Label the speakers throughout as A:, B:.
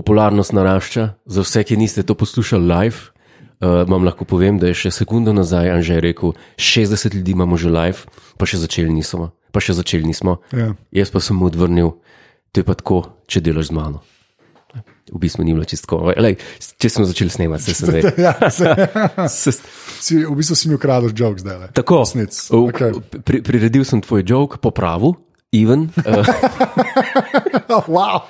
A: popularnost narašča. Za vse, ki niste to poslušali live, uh, vam lahko povem, da je še sekundo nazaj Anžej rekel: 60 ljudi imamo že live, pa še začeli nismo. Pa še začeli nismo.
B: Ja.
A: Jaz pa sem mu odvrnil, to je pa tako, če delaš z mano. V bistvu ni bilo čisto. Lej, če smo začeli snemati, se sem rekel.
B: Ja, se,
A: Se-
B: si, v bistvu si mi ukradel žog zdaj. le.
A: Tako,
B: Resnic.
A: v-
B: Okay.
A: pri, priredil sem tvoj jok, popravil, Ivan, uh,
B: Oh, wow.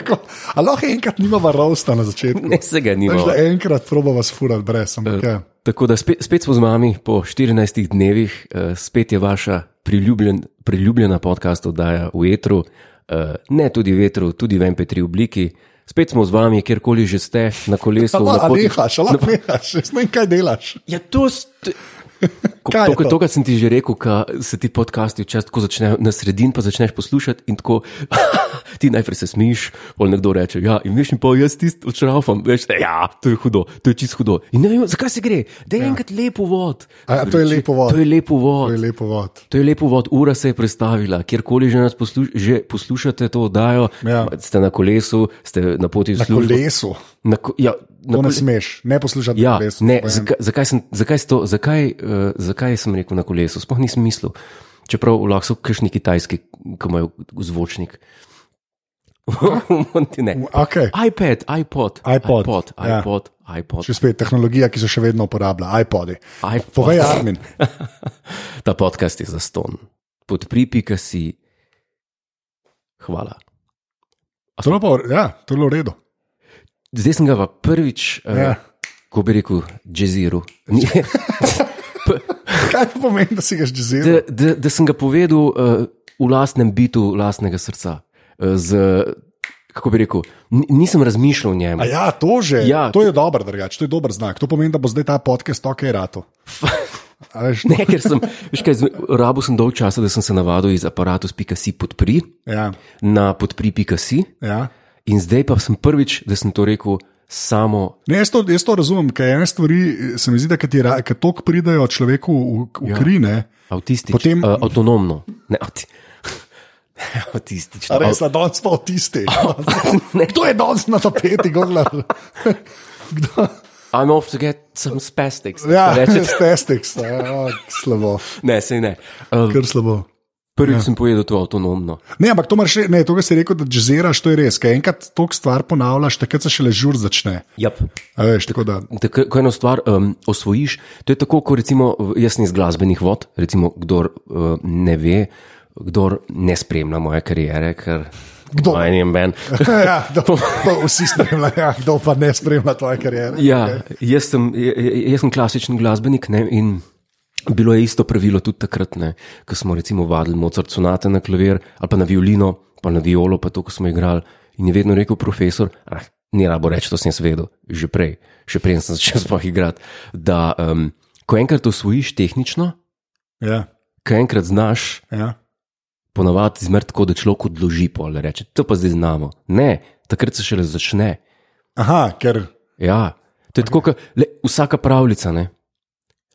B: Tako, A lahko enkrat nimava rosta na začetku.
A: ne Eh, se ga
B: Veš,
A: nima.
B: da enkrat probava sfurati brez. Ampak, ja.
A: Tako da spet, spet smo z vami po 14 dnevih, eh, spet je vaša priljubljen, priljubljena podcast oddaja v etru, eh, ne tudi v etru, tudi v MP3 obliki. Spet smo z vami, kjerkoli že ste, na kolesu.
B: Ala,
A: na
B: a
A: poti-
B: nehaš, ala, nehaš, jaz ne vem, kaj delaš.
A: Ja, to ste.
B: Kaj je
A: To,
B: to?
A: to, kar sem ti že rekel, ka se ti podcasti včasih tako začnejo na sredin, pa začneš poslušati in tako ti najprej se smiš, pol nekdo reče, ja, in veš, in pa jaz tisti odšraufam, veš, ja, to je hudo, to je čist hudo. In ne vem, zakaj se gre, da je ja. enkrat lep uvod.
B: A ja, to je lep uvod.
A: To je lep
B: To je
A: uvod.
B: lepo vod.
A: To je lep uvod, ura se je prestavila, kjerkoli že nas posluš, že poslušate to oddajo,
B: Ja.
A: ste na kolesu, ste na poti v
B: Na
A: službo.
B: kolesu.
A: Na, ko, ja, na
B: To ne smeš, ne poslušati na
A: Ja,
B: kolesu.
A: ne,
B: povem.
A: zakaj, zakaj, sem, zakaj, sem to, zakaj, uh, zakaj sem rekel na kolesu? Sploh nisem mislil. Čeprav lahko so kakšni kitajski, ki imajo zvočnik. Monti ne.
B: Okej.
A: iPad, iPod,
B: iPod,
A: iPod,
B: ja.
A: iPod, iPod,
B: Še spet tehnologija, ki se še vedno uporablja, iPodi.
A: iPod.
B: Povej, Armin,
A: Ta podcast je za ston. Podpri, pika si. Hvala.
B: to je bilo ja, to je bilo v redu.
A: Zdaj sem ga pa prvič, uh,
B: Ja.
A: ko bi rekel, jazziru. Ni-
B: Kaj pa pomeni, da si ga že zelo?
A: da, da, da sem ga povedal uh, v lastnem bitu, lastnega srca. Uh, z, kako bi rekel, ni- nisem razmišljal o njem.
B: A ja, to že.
A: Ja.
B: Ja. To je dober, drugač, to je dober znak. To pomeni, da bo zdaj ta podcast okej rato. A veš,
A: Ne, ker sem, veš kaj, zme- rabil sem dolg časa, da sem se navadil iz aparatus.si podpri
B: Ja,
A: na podpri.si
B: ja.
A: in zdaj pa sem prvič, da sem to rekel samo.
B: Ne, jaz, to, jaz to razumem, ker ene stvari eh, se mi zdi, da ki ti ra- ki toliko pridejo človeku v, v ja. kri. Ne?
A: Avtistično, Potem...
B: Potem-
A: uh, avtonomno. Ne, avti... Avtistično.
B: A Res, da danes pa avtisti. Kdo je danes na tapeti, gorla? Kdo?
A: I'm off to get some spastics.
B: Ja,
A: Reče,
B: testik, slabo,
A: ne, sej ne. Uh,
B: kar slabo.
A: prvič ja. sem povedal to avtonomno.
B: Ne, ampak to imaš, re- ne, to, kar si rekel, da džezeraš, to je res. Ker enkrat toliko stvar ponavljaš, takrat se šele žur začne.
A: Yep.
B: A Veš, tako da,
A: Da, ko ko eno stvar um, osvojiš, to je tako, kot recimo jaz iz glasbenih vod, recimo, kdo uh, ne ve, kdo ne spremlja moje kariere, ker
B: Kdo?
A: Moj ni ben.
B: ja, da pa, pa vsi spremljajo, ja, kdo pa ne spremlja tvoje kariere.
A: Ja, jaz sem, j- j- jaz sem klasičen glasbenik ne, in bilo je isto pravilo tudi takrat, ne, ko smo recimo vadili Mozart sonate na klavir ali pa na violino, pa na violo, pa to, ko smo igrali. In je vedno rekel profesor, ah, ni rabo reči, to sem jaz vedel, že prej, še prej sem začel sploh igrati, da um, ko enkrat osvojiš tehnično,
B: Ja,
A: ko enkrat znaš,
B: ja.
A: ponavadi zmer tako, da človek odloži pol, reče, to pa zdaj znamo. Ne, takrat se šele začne.
B: Aha, ker.
A: Ja, to je okay. tako, kot vsaka pravljica. Ne?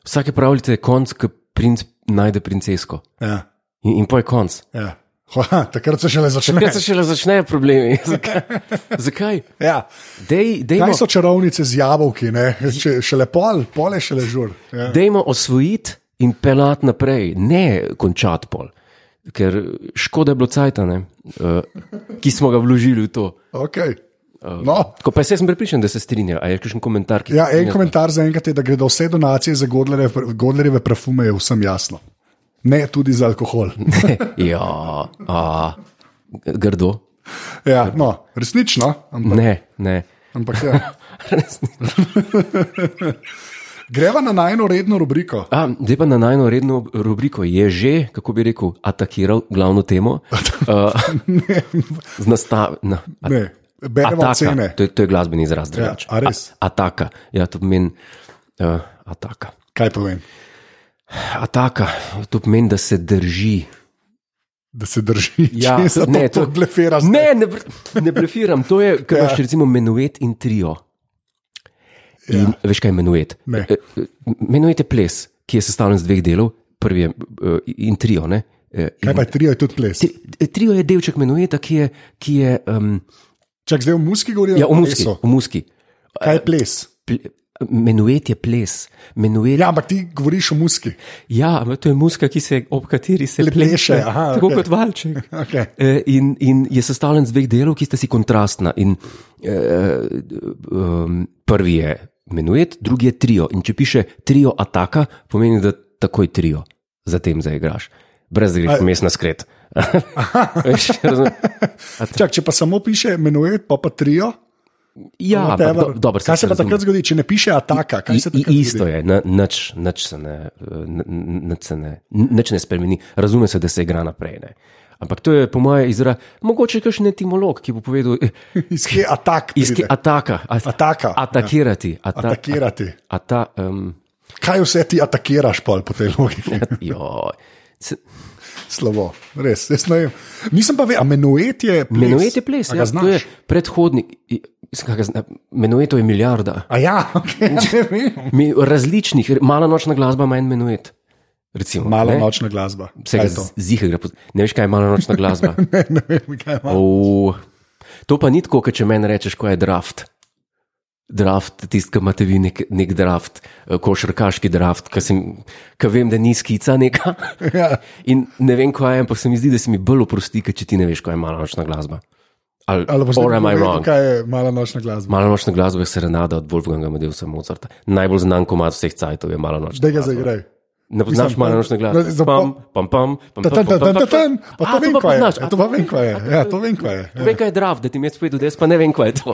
A: Vsake pravljice je konc, ko princ najde princesko.
B: Ja,
A: In, in pa je konc.
B: ja. Ha, takrat se šele začne.
A: Kaj se šele začnejo problemi? Zakaj? Zakaj?
B: Ja.
A: Dej, dejmo,
B: Kaj so čarovnice z jabolki, ne? Če, šele pol, pol je šele žur. Ja.
A: dejmo osvojiti in pelati naprej, ne končati pol. Ker škoda je bilo cajta, ne, uh, ki smo ga vložili v to.
B: Okay. No.
A: Tako, pa jaz sem prepričan, da se strinja. A je kakšen komentar, ki
B: Ja, en komentar za enkrat je, da gredo vse donacije za Godlerjeve, Godlerjeve parfume, je vsem jasno. Ne tudi za alkohol.
A: ja, a, grdo.
B: Ja, no, resnično, ampak,
A: Ne, ne.
B: ampak ja. greva na najno redno rubriko.
A: A, zdaj pa na najno redno rubriko je že, kako bi rekel, atakiral glavno temo. Uh, z nastav, na, a,
B: Ne, beremo
A: ataka,
B: ocene.
A: to, je, to je glasbeni izraz.
B: Ja,
A: drugače.
B: a res?
A: A, ataka, ja, to pomeni uh, ataka.
B: Kaj povem?
A: Ataka, to pomeni, da se drži.
B: Da se drži,
A: Ja,
B: ja, česa,
A: ne,
B: ne,
A: to-
B: to, to blefira.
A: Ne, ne, br- ne blefiram, to je, kar
B: Ja.
A: imaš recimo menuet in trio. In, ja. Veš kaj je menuet?
B: Ne.
A: E, e, Menuet je ples, ki je sestavljen iz dveh delov, prvi je e, in trio. Ne? E, eh,
B: Kaj pa je trio, je tudi ples.
A: Tri- Trio je delček menueta, ki je, ki je um,
B: Čak zdaj v muski govorijo?
A: Ja, o
B: ali
A: muski.
B: so?
A: O muski.
B: Kaj je ples?
A: Ple, menuet je ples. Menuet, ja.
B: Ja, ampak ti govoriš o muski.
A: ja, ampak to je muska, ki se, ob kateri se
B: Le pleše,
A: pleše,
B: aha,
A: tako
B: okej.
A: kot valček.
B: Okay.
A: Eh, In, in je sestavljen iz dveh delov, ki sta si kontrastna. In, eh, um, prvi je menuet, drugi je trio. In če piše trio ataka, pomeni, da takoj trio zatem zaigraš. Brez da greš vmes na skret. Veš, razumem?
B: Čak, če pa samo piše menuet, pa pa trio.
A: ja, ampak
B: whatever.
A: do, dobro,
B: No, kaj se pa
A: razumem.
B: takrat zgodi, če ne piše ataka? Kaj
A: I,
B: se
A: i,
B: takrat
A: isto je, na- nič, nič, se ne, eh, n- n- nič se ne, n- nič ne spremeni, razume se, da se igra naprej. Ne. Ampak to je, po mojem, izraz. Mogoče kakšen etimolog, ki bo povedal, eh,
B: zgodi? Iz kje atak?
A: iz ki
B: pride?
A: ataka, at,
B: Ataka, Ja.
A: atakirati, ata,
B: Atakirati.
A: Ata, um,
B: Kaj vse ti atakiraš pol po tej
A: Ja.
B: logiki?
A: joj. Se-
B: Slabo, res. jaz ne vem. Nisem pa vedel, a menuet je ples.
A: Menuet je ples,
B: A
A: ja,
B: ga
A: to je
B: znaš?
A: predhodnik. i- mislim, kaj ga zna- Menuetov je milijarda.
B: A ja, okay, ne vem.
A: Mi, različnih, mala nočna glasba ima en menuet. Recimo,
B: Mala
A: ne?
B: nočna glasba.
A: Vse
B: Kaj
A: je
B: je to?
A: zihar, gre po- ne veš, kaj je mala nočna glasba.
B: Ne, ne vem, kaj ima.
A: Oh, to pa ni tako, kot če meni rečeš, ko je draft. Draft, tisti, ki imate vi nek, nek draft, eh, košarkaški draft, ki sem- ki vem, da ni skica neka.
B: Ja.
A: In ne vem, kaj je, ampak se mi zdi, da se mi bolj oprosti, ker če ti ne veš, kaj je malanočna glasba. Ali,
B: Ali boš
A: or am I
B: nekdo
A: wrong?
B: povedal, kaj je mala nočna glasba?
A: Malanočna glasba je serenada od Wolfganga Medeusa Mozarta. Najbolj znan komad vseh cajtov je malanočna.
B: Daj ga
A: glasba.
B: zaigraj.
A: Ne poznaš
B: Mislim,
A: malanočne glasbe.
B: ne, za
A: Pam,
B: pol-
A: pam, pam, pam,
B: Ta, ta,
A: pam,
B: ta, ta,
A: pam,
B: ta, ta.
A: pam.
B: Pa
A: A, pa
B: to vem, kaj je.
A: poznaš.
B: Ja, To pa vem, kaj je. Ja, to vem, kaj je. Ja.
A: Povej, kaj je draft, da ti mi je spet udespa, ne vem, kaj je to.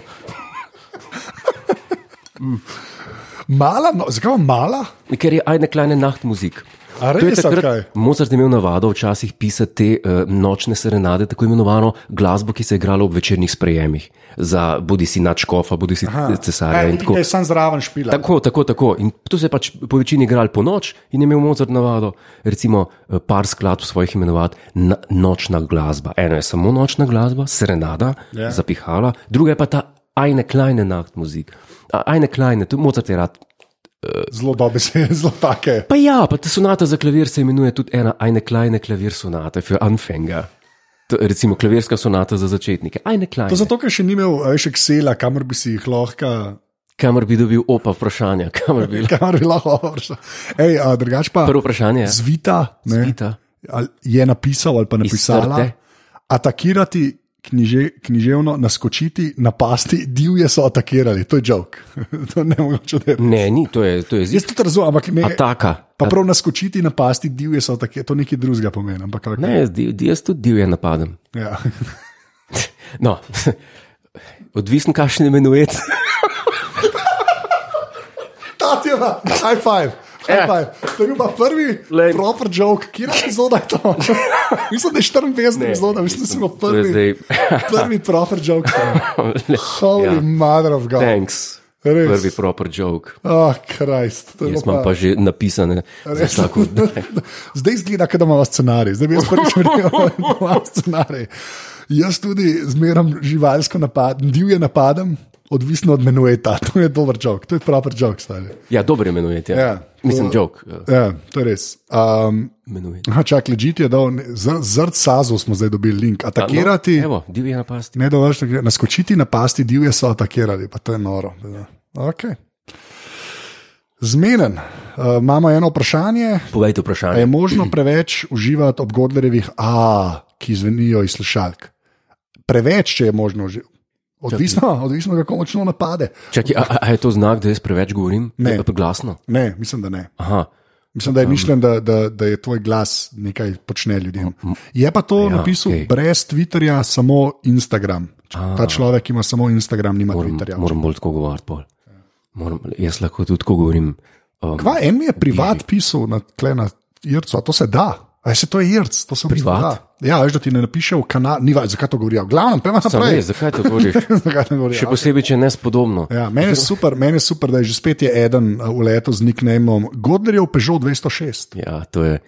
B: Mala, no, zakaj pa mala?
A: Ker je ajne kleine nachtmuzik.
B: A
A: To je
B: res, ali kaj?
A: Mozart je imel navado včasih pisati te uh, nočne serenade, tako imenovano glasbo, ki se je igrala ob večernih sprejemih, za bodi si nadškofa, bodi si
B: Aha.
A: cesarja.
B: Kaj,
A: in
B: ti,
A: tako.
B: ki je sam zraven špila.
A: Tako, tako, tako. In to se je pač po večini igral po noč in je imel Mozart navado, recimo eh, par skladb svojih imenovati na, nočna glasba. Eno je samo nočna glasba, serenada,
B: Ja.
A: yeah. zapihala, druga je pa ta ajne kleine nachtmuzik. A- Ajne kleine, to Mozart je rad.
B: Zelo dobe se, zelo take.
A: Pa ja, pa ta sonata za klavir se imenuje tudi ena ajne kleine klavir sonata, für Anfänger. To, je recimo klavirska sonata za začetnike, ajne kleine.
B: To zato, ker še ni imel a veš, Excela, kamor bi si jih lahko,
A: Kamor bi dobil opa vprašanja, kamor bi bilo.
B: kamor bi lahko vršil. Ej, a drugač pa
A: Prvo vprašanje je,
B: zvita, ne,
A: Zvita.
B: ali je napisal ali pa napisala.
A: trte.
B: Atakirati. Knjiže, književno naskočiti, napasti, divje so atakirali, to je žog. to ne mogoče, da je.
A: ne, ni, to je, to je
B: Jaz
A: zid.
B: tudi razumem, ampak ne.
A: Ataka.
B: Pa prav naskočiti, napasti, divje so atakirali, to nekaj drugega pomeni. Ampak, okay.
A: Ne, jaz, di- di- jaz tudi divje napadem.
B: ja.
A: No, odvisen, kakšen je menuet.
B: Tatjana, high five. High
A: Ja.
B: five. To je bil pa prvi
A: Lej.
B: proper joke, ki je epizoda je to. Mislim, da je 54 epizoda, mislim, da smo
A: To je Ja.
B: prvi, prvi proper joke.
A: zdaj.
B: Holy ja.
A: Ja.
B: mother of God.
A: Thanks.
B: Res.
A: Prvi proper joke.
B: Oh, Krist.
A: Jaz imam pa že napisane. za Vsako,
B: Zdaj izgleda, kot da imamo scenarij. Zdaj bi jaz prvič rekel, da imamo scenarij. Jaz tudi zmeram živalsko napadam, divje napadam, odvisno od menueta. To je dober joke, to je proper joke. Stari.
A: ja, dobro je menuet. Ja.
B: Ja.
A: Ja, Mislim, joke. eh,
B: Ja, to je res. Um,
A: Menuet.
B: Aha, čak, ležite je dal, zrd sazo smo zdaj dobili link. Atakirati,
A: No, Evo, divje napasti.
B: ne dovoljšno, naskočiti, napasti, divje so atakirali, pa to je noro. Okay. Zmeren. Uh, imamo eno vprašanje.
A: Povejte
B: A je
A: vprašanje.
B: možno preveč uživati ob Godlerjevih A, ki zvenijo iz slušalk? Preveč, če je možno uživati. Odvisno, odvisno, kako močno napade.
A: Čakaj, a, a- a je to znak, da jaz preveč govorim?
B: Ne.
A: Pa Glasno.
B: Ne, mislim, da ne.
A: Aha.
B: Mislim, da je mišljen, da, da, da je tvoj glas nekaj počne ljudem. Je pa to ja, napisal okay.
A: Mm, okej. Ah.
B: brez Twitterja, samo Instagram. Č- Ta človek ima samo Instagram, nima
A: Moram,
B: Twitterja.
A: moram bolj tako govoriti. bolj. Moram, jaz lahko tudi tako govorim. Um,
B: Kva, en mi je privat pisal na tlena Ircu, a to se da. A se to je Irc, to se v bistvu
A: Privat?
B: da. Ja, veš, da ti ne napiše v kanal, ni več, zakaj to govorijo. Glavno, pojma
A: Sam
B: naprej.
A: ne, zakaj to govoriš?
B: zakaj to govorijo?
A: Še posebej, če je nespodobno.
B: Ja, meni, je super, meni je super, da je že spet je eden uh, v letu z nicknameom Godlerjev Peugeot 206.
A: Ja, to je.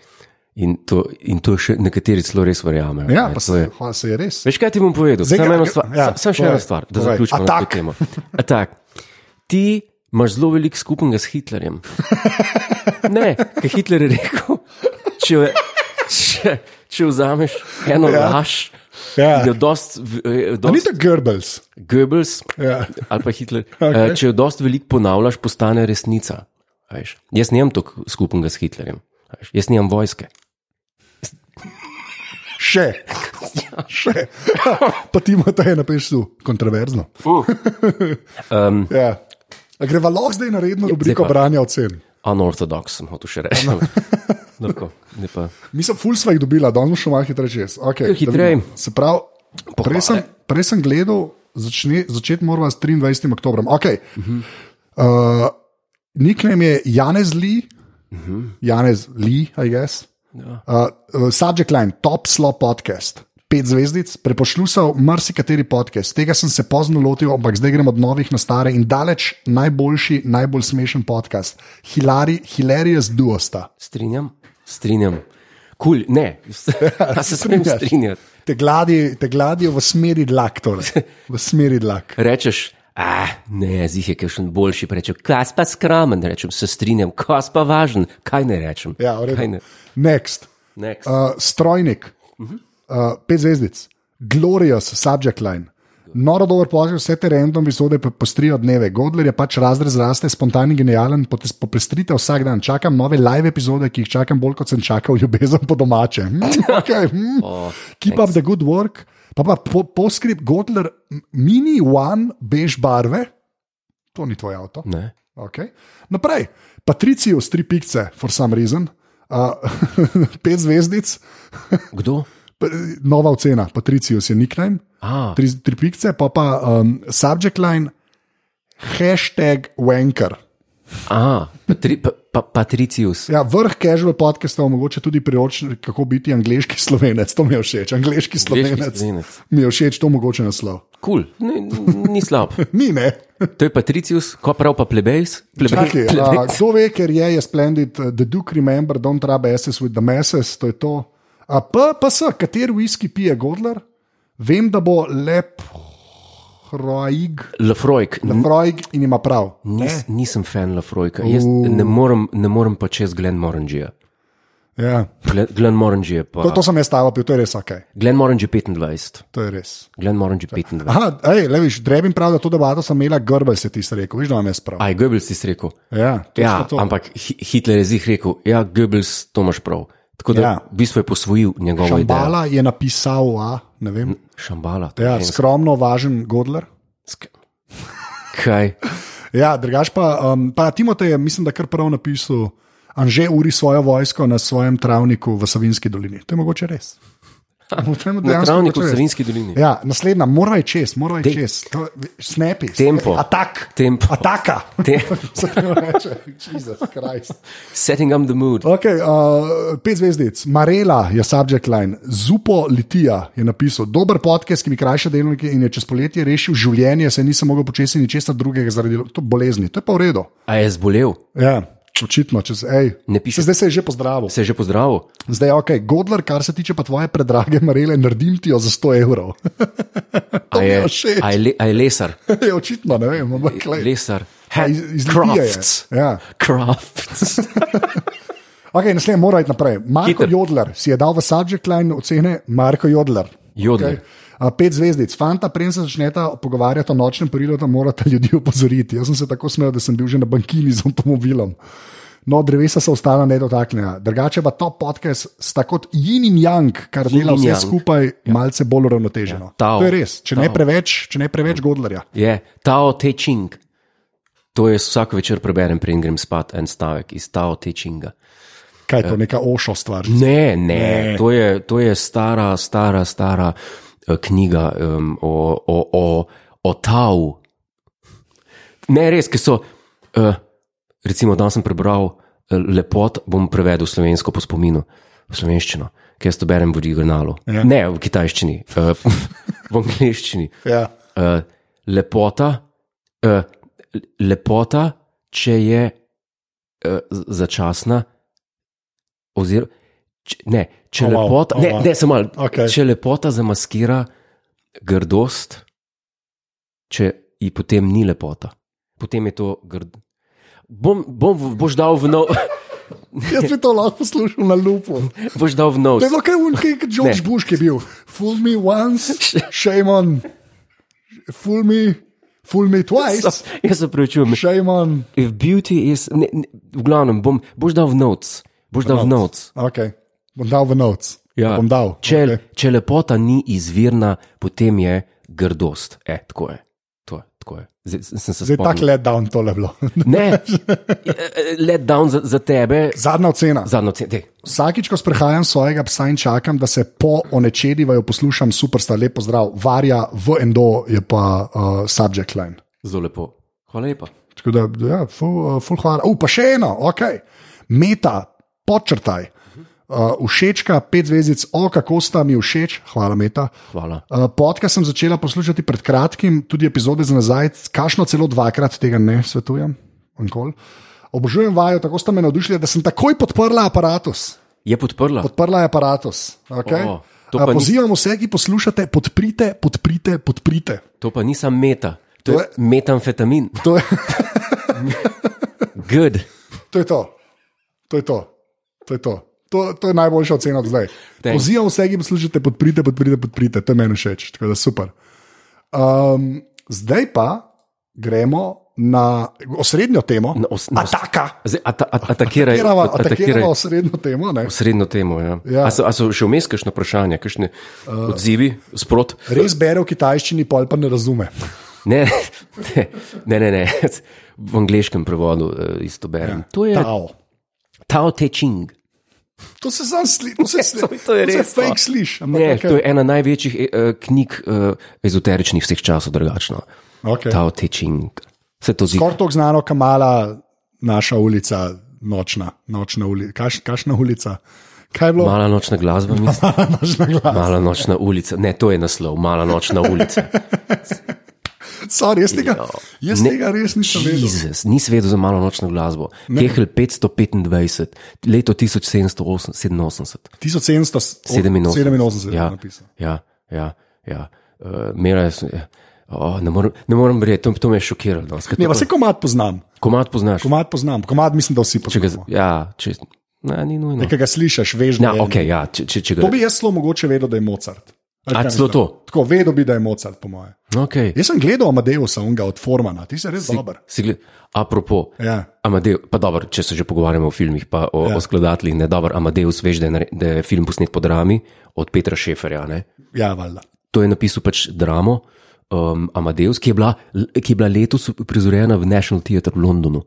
A: In to, in to še nekateri celo res verjamejo.
B: Ja,
A: ne,
B: pa
A: to je.
B: se, hvala, se je res.
A: Veš, kaj ti bom povedal?
B: Zdaj
A: Samo
B: ga-
A: eno stvar,
B: ja,
A: ja, sam še
B: povej,
A: ena stvar, da
B: povej.
A: zaključimo na to
B: Atak.
A: temo. Atak. Ti imaš zelo veliko skupnega s Hitlerjem. Ne, kaj Hitler je rekel, če, če, če vzameš eno ja. laž,
B: Ja.
A: Jo dost, v- eh,
B: A ni
A: dost
B: to Goebbels.
A: Goebbels
B: Ja.
A: ali pa Hitler.
B: Okej.
A: okay. Če jo dost veliko ponavljaš, postane resnica. a veš. Jaz nimam toliko skupnega s Hitlerjem, a veš. jaz nimam vojske.
B: Še. Še. Pa ti imaš ta ena peš tu, kontroverzno.
A: Um, Ja,
B: Ja. A greva lahko zdaj na redno rubriko
A: pa.
B: branja ocen.
A: Unorthodox sem hotel še reči. Lahko, ne pa.
B: Mi smo ful sva jih dobila, da smo še malo hitreje čez.
A: Kar
B: Okay, da
A: hitreje.
B: vidimo. Se pravi, prej sem, prej sem gledal, začne, začeti moramo s 23. oktobrom. Okay. Uh
A: Mhm.
B: -huh. uh, Nickname je Janez Lee, uh -huh. Janez Lee, I guess.
A: Mhm. Ja.
B: Uh, uh, subject line, top slow podcast. Pet zvezdic, prepošlusal marsikateri podcast. Tega sem se pozno lotil, ampak zdaj gremo od novih na stare in daleč najboljši, najbolj smešen podcast. Hilari, hilarious duosta.
A: Strinjam, strinjam. Kul, cool, ne, ja, se smem
B: strinjaš.
A: strinjati.
B: Te, gladi, te gladijo v smeri dlak, torej. v smeri dlak.
A: Rečeš, ah, ne, zih je kakšen boljši, pa rečem, kas pa skromen, rečem, se strinjam, kas pa važen, kaj ne rečem.
B: Ja, v redu.
A: kaj ne.
B: Next.
A: Next.
B: Uh, strojnik, uh, pet zvezdic, glorious subject line. Noro dober poziv, vse te random epizode pa postrijo dneve. Godler je pač razred zraste, spontan in genijalen, potes- popestrite vsak dan. Čakam nove live epizode, ki jih čakam bolj kot sem čakal ljubezen po domače. Mm, okay, mm.
A: Oh,
B: Keep up the good work. Pa pa po, poskrip Godler, m- mini one, bež barve, to ni tvoj avto.
A: Ne.
B: Okay. Naprej, Patricijo s tri pikce, for some reason, uh, pet zvezdic,
A: Kdo?
B: pa- nova ocena, Patricijo je nickname,
A: A,
B: tri, tri pikce, pa pa um, subject line, hashtag wanker.
A: a patri, pa, pa, Patricius.
B: Ja, vrh casual podcasta omogoča tudi priročnik, kako biti angliški slovenec, to mi je všeč, angliški slovenec.
A: Slovenec.
B: Mi je všeč, to mogoče naslov.
A: Kul, cool. ni, ni slab.
B: Ni, ne.
A: To je Patricius, ko prav pa plebejs. Plebej,
B: Čakaj, a, Kdo ve, ker je, je splendid, uh, the Duke remember, don't rub asses with the masses, to je to. A pa, pa se, kater whisky pije Godler, vem, da bo lep, hroig,
A: Lafroik,
B: hroig in ima prav.
A: Nis, nisem fan Lafroika, jaz ne
B: Uh.
A: morem, ne morem pač pa čez Glen Morangija.
B: Ja.
A: Glen Morangija
B: To,
A: pa.
B: to sem jaz stavil, to je res ok,
A: Glen Morangija 25,
B: to je res.
A: Glen Morangija 25.
B: Aha, ej, le viš, drebim prav, da to debato sem imela, grbel se ti rekel, veš, da imam jaz prav.
A: Aj, Goebbels si rekel.
B: Ja, točno
A: Ja,
B: to.
A: ampak Hi- Hitler je zih rekel, ja, Goebbels, to imaš prav. Tako da
B: Ja.
A: ja. v bistvu je posvojil njegovo idejo.
B: Šambala je napisal, a, ne vem,
A: Šambala. to je
B: ja,
A: ženska.
B: skromno, važen Godler.
A: Sk- Kaj?
B: Ja, drugač pa, um, pa Timotej je, mislim, da kar prav napisal, Anže uri svojo vojsko na svojem travniku v Savinski dolini. To je mogoče res. To je
A: Na
B: dejansko
A: travniku v
B: mogoče res.
A: Savinski dolini. Ja.
B: Ja, naslednja, mora je čez, mora je čez. To- Snapi.
A: Tempo.
B: Atak.
A: Tempo.
B: Ataka.
A: Te,
B: Se temu reče, Jezus Kristus.
A: setting up the mood.
B: Okay, uh, pet zvezdic, Marela je subject line, Zupo Litija je napisal, dober podcast, ki mi krajša delovnike in je čez poletje rešil življenje, se nisem mogel početi ničesar drugega zaradi to bolezni. To je pa v redu.
A: A je zbolel,
B: Ja, očitno, če se, ej,
A: Ne piše.
B: Se zdaj se je že pozdravil.
A: se je že pozdravil.
B: Zdaj je ok, Godler, kar se tiče pa tvoje predrage marele, naredim ti jo za 100 evrov.
A: A je,
B: mi je všeč.
A: a je, le, a je lesar,
B: je očitno, ne vem, ampak le.
A: lesar.
B: Ja, iz- iz Litije je.
A: Crafts.
B: Ja.
A: Crafts.
B: Ok, naslednji mora iti naprej. Marko
A: Hiter.
B: Hiter. Jodler si je dal v subject line ocene Marko Jodler.
A: Jodler.
B: Okay. A, Pet zvezdic, fanta, preden se začneta pogovarjati o nočnem perilu, da morate ljudi opozoriti. Jaz sem se tako smejal, da sem bil že na bankini z avtomobilom. No, drevesa so ostala nedotaknjena. Drugače pa to podcast sta kot jin in jang, kar
A: Yin
B: dela
A: in
B: vse
A: yang.
B: skupaj ja. malce bolj uravnoteženo.
A: Ja, tao.
B: to je res, če ne
A: Tao.
B: preveč, če ne preveč godlerja.
A: Je Tao Te Ching. To jaz vsak večer preberem, preden grem spat en stavek iz Tao Te Chinga.
B: Kaj je to, neka ošo stvar?
A: Ja. Ne, ne, to je, to je stara, stara, stara eh, knjiga um, o, o, o, o Tau. Ne, res, ki so. Uh, recimo, danes sem prebral eh, Lepot, bom prevedel slovensko po spominu, v slovenščino, ki jaz to berem v originalu.
B: Ja.
A: Ne, v kitajščini, uh, v angliščini.
B: Ja.
A: Uh, lepota, uh, lepota, če je uh, začasna, oziroma če, ne, če
B: Oh,
A: oh,
B: wow.
A: lepota,
B: Oh,
A: ne,
B: wow.
A: ne, samo malo,
B: Okej.
A: če lepota zamaskira grdost, če ji potem ni lepota, potem je to grd. Bom, bom, boš dal v nov.
B: Jaz bi to lahko poslušal na lupu.
A: Boš dal v nos.
B: To je bilo kaj unkaj, kot George
A: Ne.
B: Bush, ki je bil. Fool me once, shame on. Fool me, fool me twice,
A: Sam- Jaz se prevečujem.
B: shame on.
A: If beauty is. Ne, ne, v glavnem, bom, boš dal v notes. Boš dal v notes.
B: Okay. Bom dal v notes.
A: Ja.
B: Bom dal.
A: Če,
B: Okay.
A: okay. če lepota ni izvirna, potem je grdost. E, tako je. To je, tako je. Zdaj, sem se
B: Zdaj je tako
A: spomnil.
B: let down tole bilo.
A: Ne, E, let down za, za tebe,
B: Zadnja ocena.
A: zadnjo ceno.
B: Vsakič, ko sprehajam svojega psa in čakam, da se po onečedivajo, poslušam superstar, lepo zdrav, varja v endo je pa uh, subject line.
A: Zelo lepo. Hvala lepa.
B: Tako da, ja, full, uh, full hvala. U, pa še eno, ok. Meta, podčrtaj. Uh, všečka, pet zvezdic, o kako sta mi všeč, hvala meta.
A: Hvala.
B: Uh, Podcast sem začela poslušati pred kratkim, tudi epizode za nazaj, kašno celo dvakrat tega ne svetujem. nikoli. Obožujem vajo, tako sta me navdušili, da sem takoj podprla aparatus.
A: Je podprla.
B: Podprla je aparatus. Okay?
A: O, to
B: A,
A: pa ni-
B: pozivam vse, ki poslušate, podprite, podprite, podprite.
A: To pa nisem meta, to, to je
B: To je-
A: metamfetamin.
B: To je
A: Good.
B: to. Je to. To, je to. to, je to. To, to je najboljša ocena od zdaj.
A: Thanks.
B: Pozivam vse, ki poslušate, podprite, podprite, podprite. To je meni všeč, tako da super. Um, zdaj pa gremo na osrednjo temo.
A: Na os- na os-
B: Ataka.
A: Zdaj, ata, at, atakiraj,
B: Atakirava,
A: at, atakiraj
B: atakirava osrednjo temo. Ne?
A: srednjo temo. Ja. Ja.
B: Ja.
A: A, so, a so še vmes kakšne vprašanja, kakšne uh, odzivi, sprot?
B: Res bere v kitajščini, pol pa ne razume.
A: Ne, ne, ne, ne, ne. v angliškem prevodu eh, isto berem. Ja. To je
B: Tao.
A: Tao Te Ching.
B: To se sam sliši, to se sliši.
A: To- to je res, no.
B: fake sliši. ampak
A: Ne,
B: okej.
A: To je ena največjih eh, eh, knjig eh, ezoteričnih vseh časov, drugačno.
B: Okay.
A: Tao Te Ching. Vse to zdi.
B: Skoraj tako znano, kamala naša ulica, nočna, nočna ulica, kaš, kašna ulica. Kaj je bilo?
A: Mala nočna glasba, mislim.
B: Nočna glas.
A: Mala nočna ulica, ne, to je naslov, mala nočna ulica.
B: Sorry, jaz tega, jaz
A: Ne.
B: tega res nisem vedel.
A: Jezus, nisem vedel za malo nočno glasbo. Kehl 525, leto 1787. 87.
B: 1787 ja.
A: ja,
B: napisal.
A: ja, ja, ja. Uh, Mera je. Oh, ne morem, ne morem reči, to, to me je šokiralo. No.
B: Ne, pa
A: Skratka,
B: se komat poznam,
A: Komat poznaš.
B: komat poznam, komat mislim, da vsi
A: Če ga,
B: poznamo.
A: ja, če, ne, ni nujno.
B: Ker ga slišiš, veš, da
A: Ja,
B: je.
A: okay, ja, če, če, če ga,
B: To bi jaz zelo mogoče vedel, da je Mozart. Ali
A: A,
B: kaj
A: celo
B: mislim?
A: to?
B: Tako vedel bi, Ja. da je Mozart, po moje.
A: okay.
B: Jaz sem gledal Amadeusa, unga od Formana, ti si res dober.
A: Si gled, apropo,
B: Ja.
A: Amadeus, pa dobro, če se že pogovarjamo o filmih, pa o, ja. o skladateljih, ne dobro, Amadeus veš, da je, nare- da je film posnet po drami od Petra Šeferja. Ne?
B: Ja, valjda.
A: To je napisal pač dramo um, Amadeus, ki je, bila, ki je bila letos prizorjena v National Theatre v Londonu.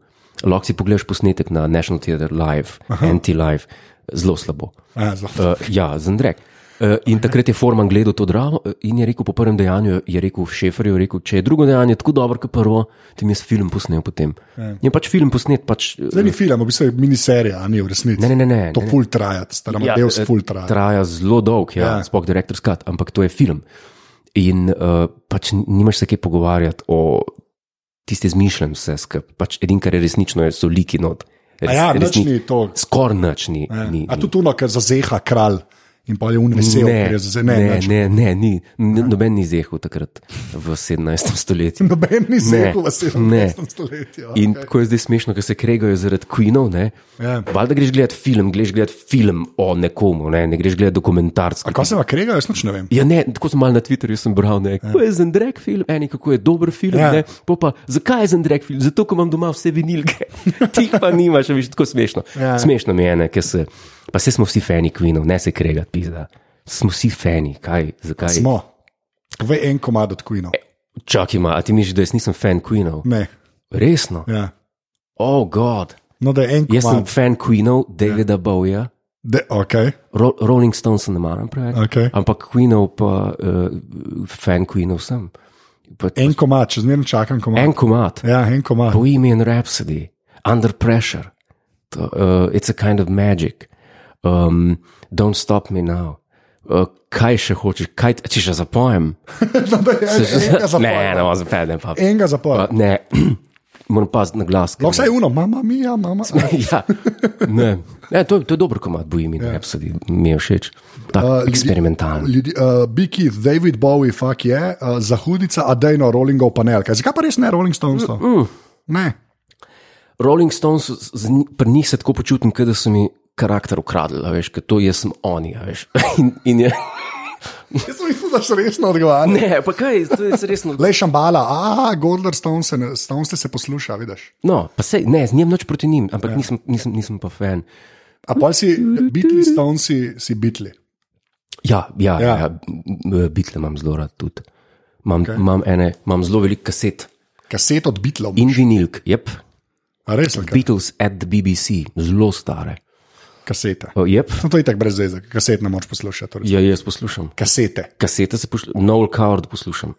A: Lahko si pogledaš posnetek na National Theatre Live, Anti-Live, zelo slabo.
B: Ja, zelo.
A: Uh, ja, Zandrek. Uh, in takrat je Forman gledal to dramo eh, in je rekel: Po prvem dejanju je rekel Šeferju, je rekel, če je drugo dejanje tako dobro kot prvo, ti mi jaz film posnel potem. Je pač film posnet, pač. eh,
B: Zdaj ni film, v bistvu je miniserija, a ni v resnici.
A: Ne, ne, ne, ne,
B: To
A: ne.
B: full traja, stara Amadeus
A: eh,
B: full traja.
A: Traja zelo dolg, ja, ja.
B: Ja.
A: sploh direktor skat, ampak to je film. In uh, pač nimaš se kaj pogovarjati o tiste zmišljen vse skupaj. Pač edin, kar je resnično, je so liki not.
B: A ja, nič ni to.
A: Skoraj nič ni.
B: Ja.
A: ni,
B: A
A: ni.
B: tudi ono, ker zazeha kralj in pa je un vesel,
A: ne,
B: ker je zazeha. Ne,
A: ne,
B: nič. Ja.
A: ne, ne, ni, N- noben ni zehal takrat v 17. stoletju.
B: Noben ni zehal v
A: ne.
B: 17. stoletju. a.
A: In tako je zdaj smešno, ker se kregajo zaradi Queenov. ne.
B: Ja.
A: Valjda greš gledati film, greš gledati film o nekomu, ne, ne greš gledati dokumentarca.
B: A Kaj se vam krega, jaz noč ne vem.
A: Ja, ne, tako sem mal na Twitterju sem bral, ne, kako je Zendrek film, eni kako je dober film, ja.
B: Ja.
A: ne, pol pa zakaj je Zendrek film, zato ker imam doma vse vinilke, ti jih pa nimaš, a veš, tako smešno. Ja.
B: Ja.
A: Smešno mi je, ne, ker se, pa se smo vsi fani Queenov, ne se kregati, pizda. Smo vsi fani, kaj, zakaj?
B: Smo. V en komad od Queenov.
A: Čakaj, ima, a ti misliš, da jaz nisem fan Queenov?
B: Ne.
A: Resno?
B: Ja.
A: O, oh, god.
B: No, da je en
A: Jaz sem
B: komad.
A: fan Queenov, Davida ja. Bowija,
B: De, ok,
A: Ro Rolling Stones ne maram preveč,
B: Okej.
A: ampak Queenov pa, uh, fan Queenov sem. Pa,
B: en komad, če zmerno čakam komad.
A: en komat.
B: Ja, en komad.
A: Bohemian Rhapsody, Under Pressure, to, uh, It's a Kind of Magic, um, Don't Stop Me Now. Uh, kaj še hočeš, kaj t- če še zapojem?
B: No, da je en, enega
A: ne,
B: zapora.
A: no, zapojem pa.
B: Enega zapora.
A: Pa Ne, moram paziti na glas. ker-
B: No, vsaj uno, mama mia, mama.
A: ja, ne. Ne, to, je- to je dober komat, Bohemian ja. Rhapsody, mi je všeč. Tako uh, eksperimentalen.
B: Ljudi, uh, Biki, David Bowie, fuck je, yeah, uh, zahudica, a dejno Rollingov panel. Kaj, zakaj pa res ne Rolling Stones? Mm, mm. Ne.
A: Rolling Stones, z- z nj- pri njih se tako počutim, kot da so mi karakter ukradli, a veš, ker to jaz sem oni, a veš. In, in je,
B: Jaz sem mislil, da še resno odgovarjam.
A: ne, pa kaj, to je resno.
B: Le šambala, a Gordon Stone se, ne- Stone se posluša, vidiš.
A: No, pa sej, ne, z njem noč proti njim, ampak nisem, nisem, nisem pa fan.
B: A pol si bitli, Stone si, si bitli.
A: Ja, ja,
B: Ja.
A: ja. ja m, bitle imam zelo rad tudi. Imam, okay. imam, ene, imam zelo veliko kaset
B: Kaset od bitlov.
A: in vinilk, yep.
B: A Res je,
A: Beatles at the BBC, zelo stare.
B: kasete.
A: Oh, yep.
B: No, to je tako brez zveze, kaset ne moreš poslušati. torej.
A: Ja, jaz poslušam.
B: Kasete,
A: Kasete se poslušam, Noel Coward poslušam.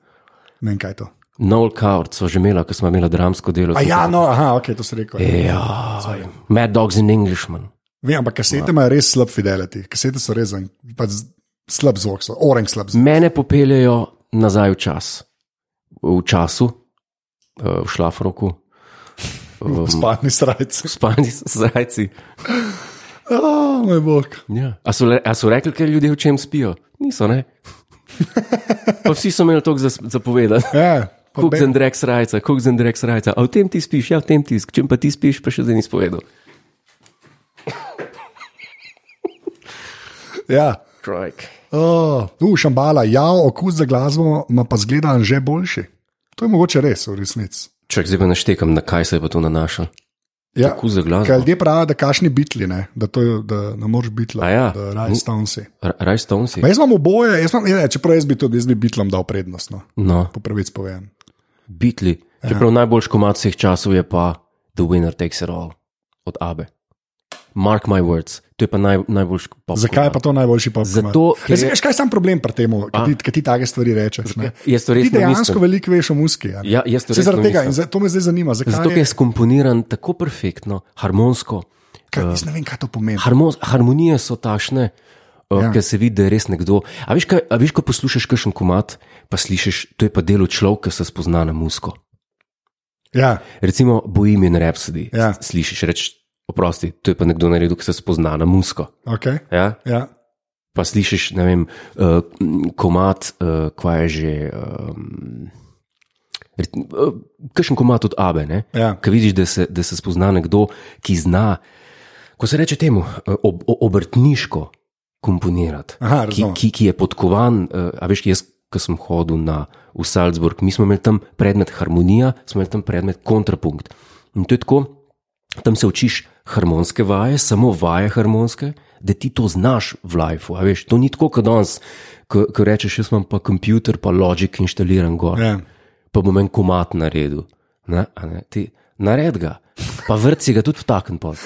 B: ne vem kaj je to.
A: Noel Coward so že imela, ko smo imela dramsko delo.
B: A ja, no, aha, ok, to si rekel. ja.
A: Ja, Mad Dogs in Englishman.
B: Vem, ampak kasete
A: Ja.
B: imajo res slab fidelity, kasete so res en- pač slab zvok, so, oren slab zvok.
A: Mene popeljejo nazaj v čas, v času, eh, v šlafroku,
B: Spalni srajci.
A: v spanji zrajci.
B: Oh, moj bog.
A: Ja. A, so le, a so rekli, kaj ljudje v čem spijo? Niso, ne. Pa vsi so imeli toliko za- zapovedati.
B: Ja, pa
A: Kuk
B: be-
A: za Andrej Srajca, kuk za Andrej Srajca. A v tem ti spiš, ja, v tem ti spiš, čem pa ti spiš, pa še zdaj nisi povedal.
B: ja.
A: Trajk.
B: Oh, uh, šambala, ja, okus za glasbo ima pa zgleda že boljši. To je mogoče res, v resnici.
A: Čak zdaj pa naštekam, na kaj se je pa to nanašalo.
B: Ja,
A: Tako za
B: Kaj
A: glasbo.
B: ljudje pravijo, da kašni bitli, ne? da, to, je- da ne moreš biti
A: A ja.
B: da raje stavnsi.
A: R- Rajstonesi.
B: Jaz imam oboje, jaz imam, ne, čeprav jaz bi tudi jaz bi bitlom dal prednost, no,
A: No,
B: po pravici povem.
A: bitli. Čeprav najboljši komad vseh časov je pa The Winner Takes It All od Abe. Mark my words, to je pa naj, najboljši pop.
B: Zakaj je pa to najboljši pop?
A: Zato, ker
B: ker
A: je-
B: je... kaj je sam problem pri tem,
A: A.
B: ki ti, ki ti take stvari rečeš. ne?
A: Jaz to
B: Ti
A: res ne
B: dejansko
A: mislim.
B: veliko veš o muski.
A: Ja, jaz to
B: Se
A: res ne
B: zaradi tega,
A: mislim.
B: in za, to me zdaj zanima, zakaj
A: Zato ker je skomponiran tako perfektno, harmonsko. Eh,
B: Kaj, jaz ne vem, kaj to pomeni.
A: Harmon, harmonije so tašne, ja.
B: Ja.
A: ker se vidi, da je res nekdo. A veš, kaj, a veš, ko poslušaš kakšen komat, pa slišiš, to je pa delo človeka, ki se spozna na musko.
B: Ja,
A: Recimo Bohemian Rhapsody.
B: Ja.
A: s- Slišiš reči, oprosti, to je pa nekdo naredil, ki se spozna na musko.
B: okay,
A: Ja?
B: ja.
A: Pa slišiš, ne vem, uh, komat, uh, kaj je že. Um, uh, Kakšen komat od Abe, ne?
B: Ja.
A: Ki vidiš, da se, da se spozna nekdo, ki zna, ko se reče temu, eh, ob, o- obrtniško komponirati,
B: Aha,
A: ki,
B: razumem.
A: ki, ki je podkovan. eh, A veš, jaz, ki sem hodil na, v Salzburg, mi smo imeli tam predmet harmonija, smo imeli tam predmet kontrapunkt. In to je tako, tam se učiš harmonske vaje, samo vaje harmonske, da ti to znaš v lifeu. a Veš, to ni tako, kot danes, ko, ko rečeš, jaz imam pa komputer, pa logik inštaliran gor
B: Ja.
A: pa bom en komat naredil. Ne, a ne, ti, nared ga, pa vrci ga tudi vtaken pod.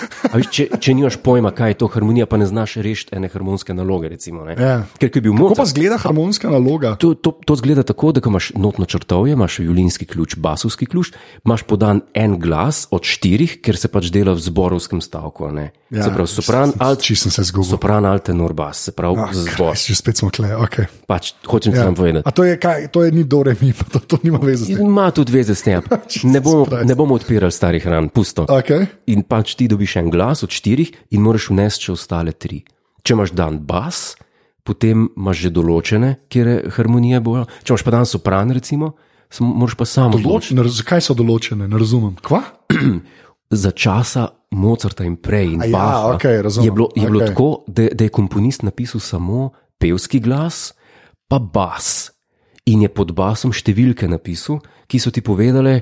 A: Če, če nimaš pojma, kaj je to harmonija, pa ne znaš rešiti ene harmonske naloge. Recimo, ne.
B: Ja.
A: Ker ko je bil
B: Kako pa
A: moč.
B: zgleda harmonska naloga?
A: To, to, to zgleda tako, da ko imaš notno črtovje, imaš violinski ključ, basovski ključ, imaš podan en glas od štirih, ker se pač dela v zborovskem stavku. a ne.
B: Ja,
A: se pravi, sopran, alt,
B: Če sem se zgubil.
A: sopran, alt, tenor, bas, se pravi,
B: Ah,
A: oh, zbor.
B: Christ, Že spet smo kle. Okay.
A: Pač, hočem ti
B: Ja.
A: samo povedati.
B: A to je, kaj, to je ni do remi, pa to, to nima veze. s tem.
A: Ima tudi veze s tem. Ne bomo,
B: Christ.
A: ne bomo odpirali starih ran, pusto.
B: Okay.
A: In pač ti dobiš en glas od štirih, in moraš vnesti še ostale tri. Če imaš dan bas, potem imaš že določene, kjer je harmonija boja. Če imaš pa dan sopran, recimo, sem- moraš pa samo
B: Določ, ne, raz- zakaj so določene, ne razumem. Kva?
A: Za časa Mozarta in prej, in
B: A ja,
A: Baha,
B: okej, razumem,
A: je bilo, je bilo
B: okej.
A: tako, da, da je komponist napisal samo pevski glas, pa bas. In je pod basom številke napisal, ki so ti povedale,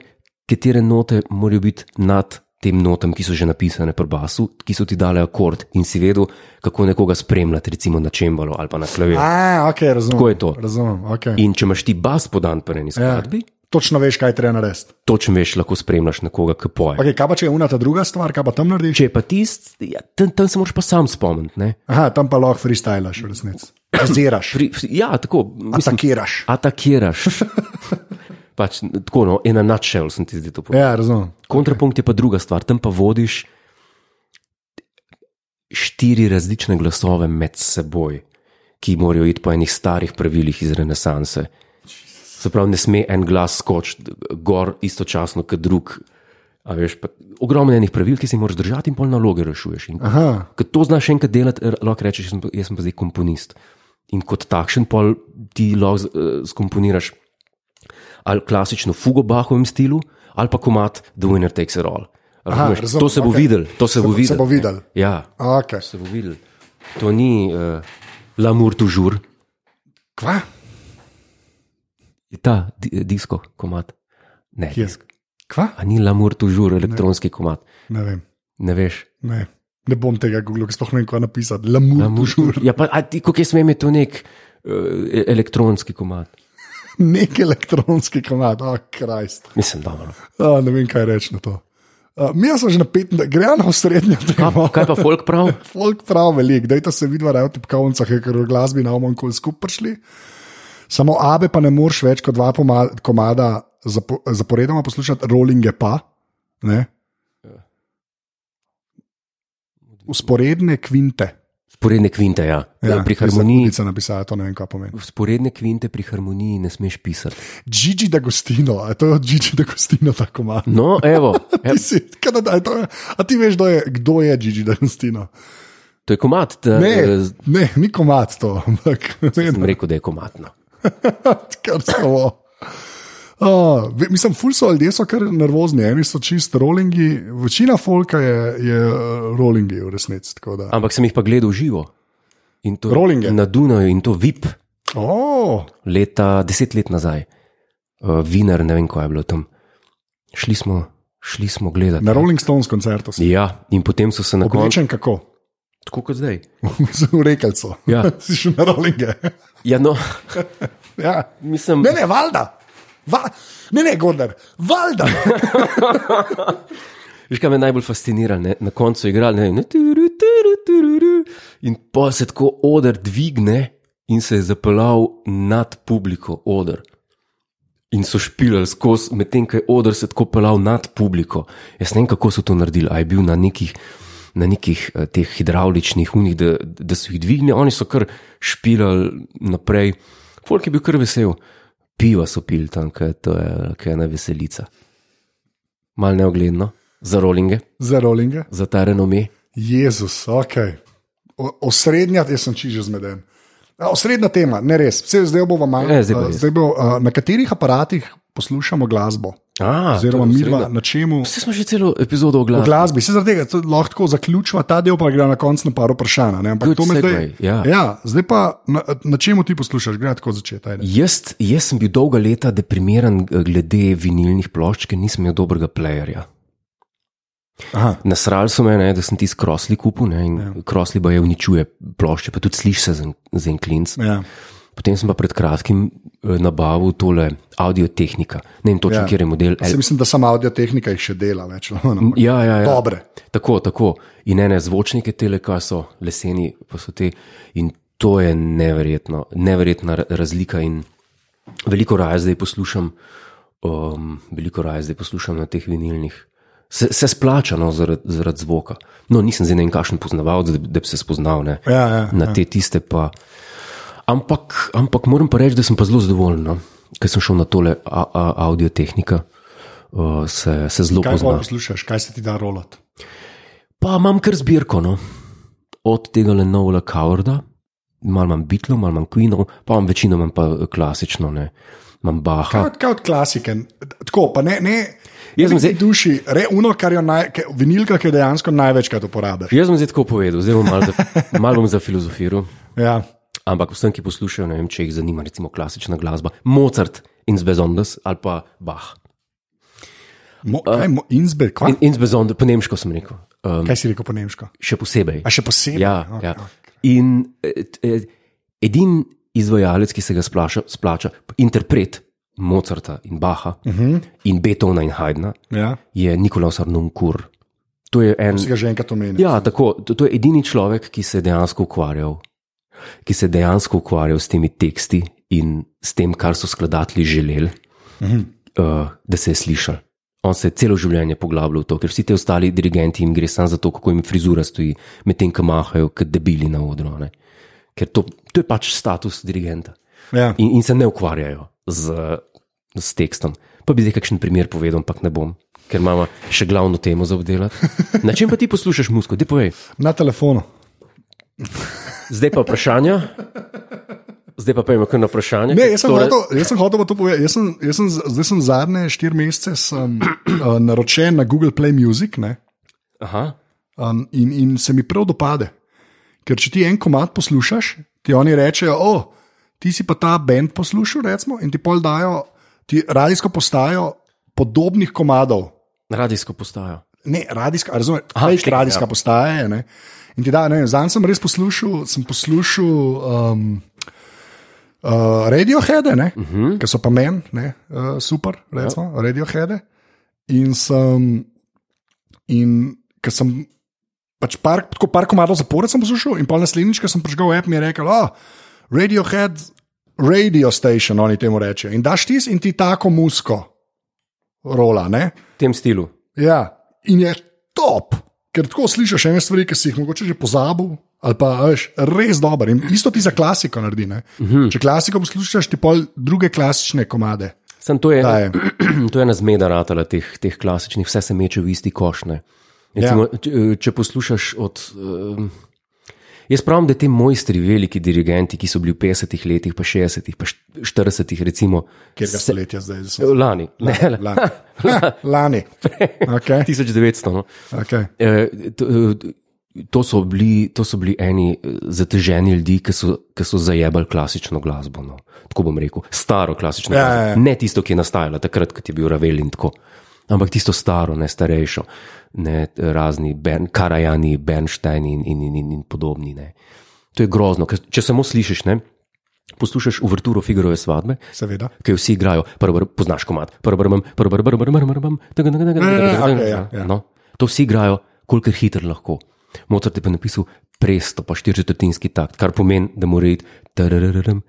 A: katere note morajo biti nad tem notam, ki so že napisane pri basu, ki so ti dale akord in si vedel, kako nekoga spremljati, recimo na čembalu ali pa na klavirju.
B: A, okay, razumem.
A: Ja. Tako je to.
B: Razumem, okay.
A: In če imaš ti bas podan po eni skladbi, ja.
B: Točno veš, kaj je treba narediti.
A: točno veš, lahko spremljaš nekoga, ki poje.
B: Okay, kaj pa če je unata druga stvar, kaj pa tam narediš?
A: Če je pa tisti, ja, tam, tam se moraš pa sam spomniti. ne.
B: Aha, tam pa lahko freestylaš, v resnici. Ziraš,
A: Pri, ja, tako. Mislim,
B: atakiraš.
A: atakiraš. pač, tako, no, ena načel sem ti zdaj to povedal.
B: Ja, razumem.
A: Kontrapunkt je pa druga stvar, tam pa vodiš štiri različne glasove med seboj, ki morajo iti po enih starih pravilih iz renesanse. Se pravi, ne sme en glas skočiti gor istočasno, kot drug. A Veš, pa, ogromno je enih pravil, ki si jih moraš držati, in pol naloge rešuješ. In
B: Aha,
A: Ko to znaš še enkrat delati, r- lahko rečeš, jaz sem, pa- jaz sem pa zdaj komponist. In kot takšen pol ti lahko z- eh, skomponiraš ali klasično fugo Bahovem stilu, ali pa komat The Winner Takes It All. Razumeš?
B: razumem,
A: to se bo
B: okej.
A: videl, to se
B: Se
A: bo
B: bo- se
A: videl.
B: bo
A: ne.
B: videlo.
A: Ja,
B: Okay.
A: se bo videl. To ni uh, Lamur Tužur,
B: Kva?
A: ta di, disko komat. Ne,
B: Kje?
A: disk.
B: Kva?
A: A ni Lamur Tužur, elektronski komat.
B: Ne vem.
A: Ne veš.
B: Ne. ne bom tega googlil, ker sploh ne vem, kaj napisati. Lamur,
A: Lamour du jour. Ja, pa a ti, kako jaz vem, je to nek uh, elektronski komat.
B: nek elektronski kanal, oh, krajst.
A: Mislim, no. dobro.
B: Oh, ne vem, kaj reči na to. Uh, mi smo že na 15, grejo na osrednjo temo.
A: Kaj pa folk prav?
B: Folk prav velik, dajte se vidva na tipkovnicah, je, ker v glasbi na omon kol skupaj prišli. Samo abe pa ne moreš več kot dva poma- komada zapo, zaporedoma poslušati, rollinge pa. Ne?
A: Ja.
B: Usporedne kvinte.
A: Sporedne kvinte, ja. ja pri harmoniji.
B: Harmonica napisala, to ne vem, kaj pomeni.
A: Sporedne kvinte pri harmoniji ne smeš pisati.
B: Gigi da Gostino, a to je od Gigi da Gostino ta komad.
A: No, evo, evo
B: Ti si, kada, a, to, je- a ti veš, kdo je, kdo je Gigi D'Agostino?
A: to je komat. Ta,
B: Ne,
A: eh,
B: ne, ni komat to, ampak ne,
A: Sem rekel, da je no. komatno.
B: kar samo. Uh, mislim, ful so ljudje so kar nervozni, eni so čist rollingi, večina folka je, je eh, rollingi v resnici. tako da.
A: Ampak sem jih pa gledal živo. In to
B: Rollinge.
A: na Dunaju in to VIP
B: Oh,
A: leta, deset let nazaj. Uh, Vinar, ne vem, kaj je bilo tam. Šli smo, šli smo gledati.
B: na Rolling Stones koncertu si.
A: Ja, in potem so se na koncu.
B: Oblečen kako?
A: Tako kot zdaj.
B: V rekalcu.
A: Ja.
B: si šel na rollinge.
A: Ja, no,
B: ja.
A: mislim.
B: Ne, ne, valjda. Va, ne, ne, Gordon, valjda.
A: Veš, kaj me najbolj fascinira, ne? na koncu igrali, ne, ne, turu, turu, tururu, in pa se tako odr dvigne in se je zapeljal nad publiko, odr. In so špilali skozi, medtem ko je odr se tako pelal nad publiko. Jaz ne vem, kako so to naredili, a je bil na nekih, na nekih eh, teh hidravličnih unih, da, da so jih dvignili, oni so kar špilali naprej. Folk je bil kar vesel, piva so pil tam, ker to je, ker je ena veselica. Mal neogledno, za rolinge,
B: Za rollinge.
A: za ta renome.
B: Jezus, ok. O- Osrednja, jaz sem čiže zmeden. A, Osrednja tema, ne res, vse zdaj bo malo.
A: Ne, zdaj bo
B: a,
A: res.
B: zdaj bo, a, na katerih aparatih poslušamo glasbo?
A: A,
B: Oziroma,
A: to je
B: mi dva,
A: osrednja.
B: na čemu?
A: Vse smo že celo epizodo
B: O
A: oglasili.
B: glasbi, se zaradi tega to lahko tako zaključiva, ta del pa gre na koncu na par vprašanj. a ne, ampak
A: Good
B: to me
A: segue,
B: zdaj-
A: ja.
B: ja, zdaj pa na, na čemu ti poslušaš, gre ja, tako začeti. ajde.
A: Jaz, jaz sem bil dolga leta deprimiran eh, glede vinilnih plošč, ker nisem imel dobrega playerja.
B: Aha,
A: Nasrali so me, ne, da sem ti skrosli kupil ne, in ja. krosli pa je uničuje plošče, pa tudi slišiš se za en- za en klinc.
B: ja.
A: Potem sem pa pred kratkim eh, nabavil tole audio tehnika, ne vem točno,
B: Ja.
A: ja. kjer je model.
B: Se mislim, da sama audio tehnika jih še dela več. no, ampak
A: Ja, ja, ja.
B: Dobre.
A: Tako, tako. In ene zvočnike teleka so, leseni pa so te. In to je neverjetno, neverjetna ra- razlika. In veliko raje zdaj poslušam, um, veliko raje zdaj poslušam na teh vinilnih. Se, se splača no, zaradi zarad zvoka. No, nisem zdaj ne vem, kakšen poznavalec, da, bi- da bi se spoznal ne,
B: Ja, ja,
A: na te tiste. Pa. Ampak, ampak moram pa reči, da sem pa zelo zadovoljen, no. ker sem šel na tole a- a- audio tehnika, uh, se, se zelo
B: Kaj
A: poznam.
B: pa poslušaš, kaj se ti da rolat?
A: Pa imam kar zbirko, no. od tega le novega Cowarda, malo imam Beatlov, malo imam Queenov, pa imam večino imam pa eh, klasično, ne. imam Baha.
B: Kot, kot klasiken, tako pa ne. ne
A: Jaz sem
B: ne
A: zdaj-
B: bi duši, re, uno, kar je naj, ke- vinilka, ki jo dejansko največkrat uporabiš.
A: Jaz sem zdaj tako povedal, zdaj bom malo, za, malo bom za filozofiral,
B: Ja.
A: ampak vsem, ki poslušajo, ne vem, če jih zanima recimo klasična glasba, Mozart in Zbezondas ali pa Bach.
B: Mo,
A: Eh.
B: kaj, mo, Innsbruck, kva?
A: In, in Zbezondas, po nemško sem rekel, um,
B: kaj si rekel po nemško?
A: še posebej.
B: A še posebej.
A: Ja,
B: Ok,
A: ja.
B: ok.
A: In eh, eh, edini izvajalec, ki se ga splača, splača interpret Mozarta in Baha uh -huh. in Beethovna in Haydna,
B: ja.
A: je Nikolaus Arnunkur. To je en.
B: Si ga že enkrat omenil.
A: Ja, tako, to, to je edini človek, ki se je dejansko ukvarjal, ki se je dejansko ukvarjal s temi teksti in s tem, kar so skladatelji želeli, uh, da se je slišal. On se je celo življenje poglabljal v to, ker vsi ti ostali dirigenti jim gre samo za to, kako jim frizura stoji, medtem ko mahajo, kot debeli na odru. a Ne? Ker to, to je pač status dirigenta
B: ja.
A: in, in se ne ukvarjajo z, z tekstom. Pa bi zdaj kakšen primer povedal, ampak ne bom, ker imamo še glavno temo za obdelati. Na čem pa ti poslušaš musko? Ti povej.
B: Na telefonu.
A: Zdaj pa vprašanja. Zdaj pa pojmo kar na vprašanje.
B: Ne, jaz sem torej... hotel, jaz sem hotel pa to povedati. Jaz sem, jaz sem, z- zdaj sem zadnje štiri mesece sem, uh, naročen na Google Play Music ne,
A: Aha,
B: um, in, in se mi prav dopade. Ker če ti en komat poslušaš, ti oni rečejo, oh, ti si pa ta bend poslušal, recimo, in ti pol dajo ti radijsko postajo podobnih komadov.
A: radijsko postajo.
B: Ne, radijska, a razumeš,
A: Aha,
B: fake
A: štekam,
B: radijska
A: ja.
B: postaja je. Ne? In ti da, ne vem, zanj sem res poslušal, sem poslušal um, uh, radiohede, ne, uh
A: Mhm.
B: -huh. ki so pa meni, ne, uh, super, recimo, ja. radiohede. In sem, in ker sem pač par, tako par komadov zapored sem poslušal, in pa naslednjič, ko sem prižgal app, mi je rekel, oh, radiohead, radio station, oni temu rečejo. In daš ti in ti tako musko rola, ne.
A: V tem stilu.
B: Ja, in je top, ker tako slišiš ene stvari, ki si jih mogoče že pozabil. Ali pa a veš, res dober. In isto ti za klasiko naredi. ne. Če klasiko poslušaš, ti pol druge klasične komade.
A: Sam to je,
B: Da
A: ena,
B: je.
A: to je ena zmeda ratala teh, teh klasičnih, vse se meče v isti košne. Recimo, ja. če, če poslušaš od. Um, jaz pravim, da ti mojstri, veliki dirigenti, ki so bili v 50-ih letih, pa 60-ih, pa 40-ih, recimo.
B: Kjer ga
A: se-
B: stoletja zdaj že
A: Lani, ne,
B: Lani. Lani. Okay.
A: 1900. No.
B: Okay.
A: Eh, to, eh, To so, bili, to so bili eni eh, zateženi ljudje, ki so, ki so zajebali klasično glasbo. No. Tako bom rekel, staro klasično
B: Ja,
A: glasbo.
B: ja, ja.
A: Ne tisto, ki je nastajala takrat, ko je bil Ravel in tako. Ampak tisto staro, ne starejšo, ne eh, razni ben, Karajani, Bernstein in, in, in, in, in podobni. Ne. To je grozno, ker če samo slišiš, ne, poslušaš uverturo Figarove svadbe,
B: Seveda.
A: ki jo vsi igrajo, prvo poznaš komat, prvo brm, prvo brm, prvo brm, brm, tako da
B: okej, ja,
A: ne
B: ja.
A: gre. To vsi igrajo, kolikor hitro lahko. Mozart je pa napisal presto, pa štiričetrtinski takt, kar pomeni, da mora iti tararararam,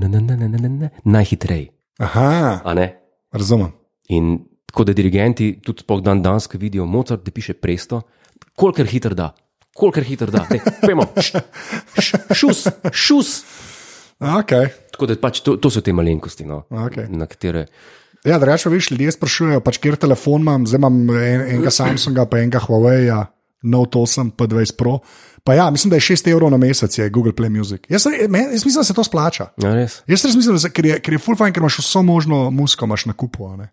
A: tananananananana, najhitreje.
B: Aha,
A: a ne?
B: razumem.
A: In tako da dirigenti, tudi sploh dan danes, ki vidijo Mozart, da piše presto, kolikor hitro da. Kolikor hitro da, ne, pojmo, š- š- šus, šus.
B: Okay.
A: Tako da pač to, to so te malenkosti, no,
B: Okej.
A: na katere
B: Ja, da rečem, veš, ljudje sprašujejo, pač kjer telefon imam, zdaj imam en, enega Samsunga, pa enega Huawei, Note 8, pa 20 Pro. Pa ja, mislim, da je 6 evrov na mesec je Google Play Music. Jaz, re- men- jaz mislim, da se to splača.
A: Ja, res.
B: Jaz res mislim, da se, ker je, ker je full fajn, ker imaš vso možno musko imaš na kupu. a ne.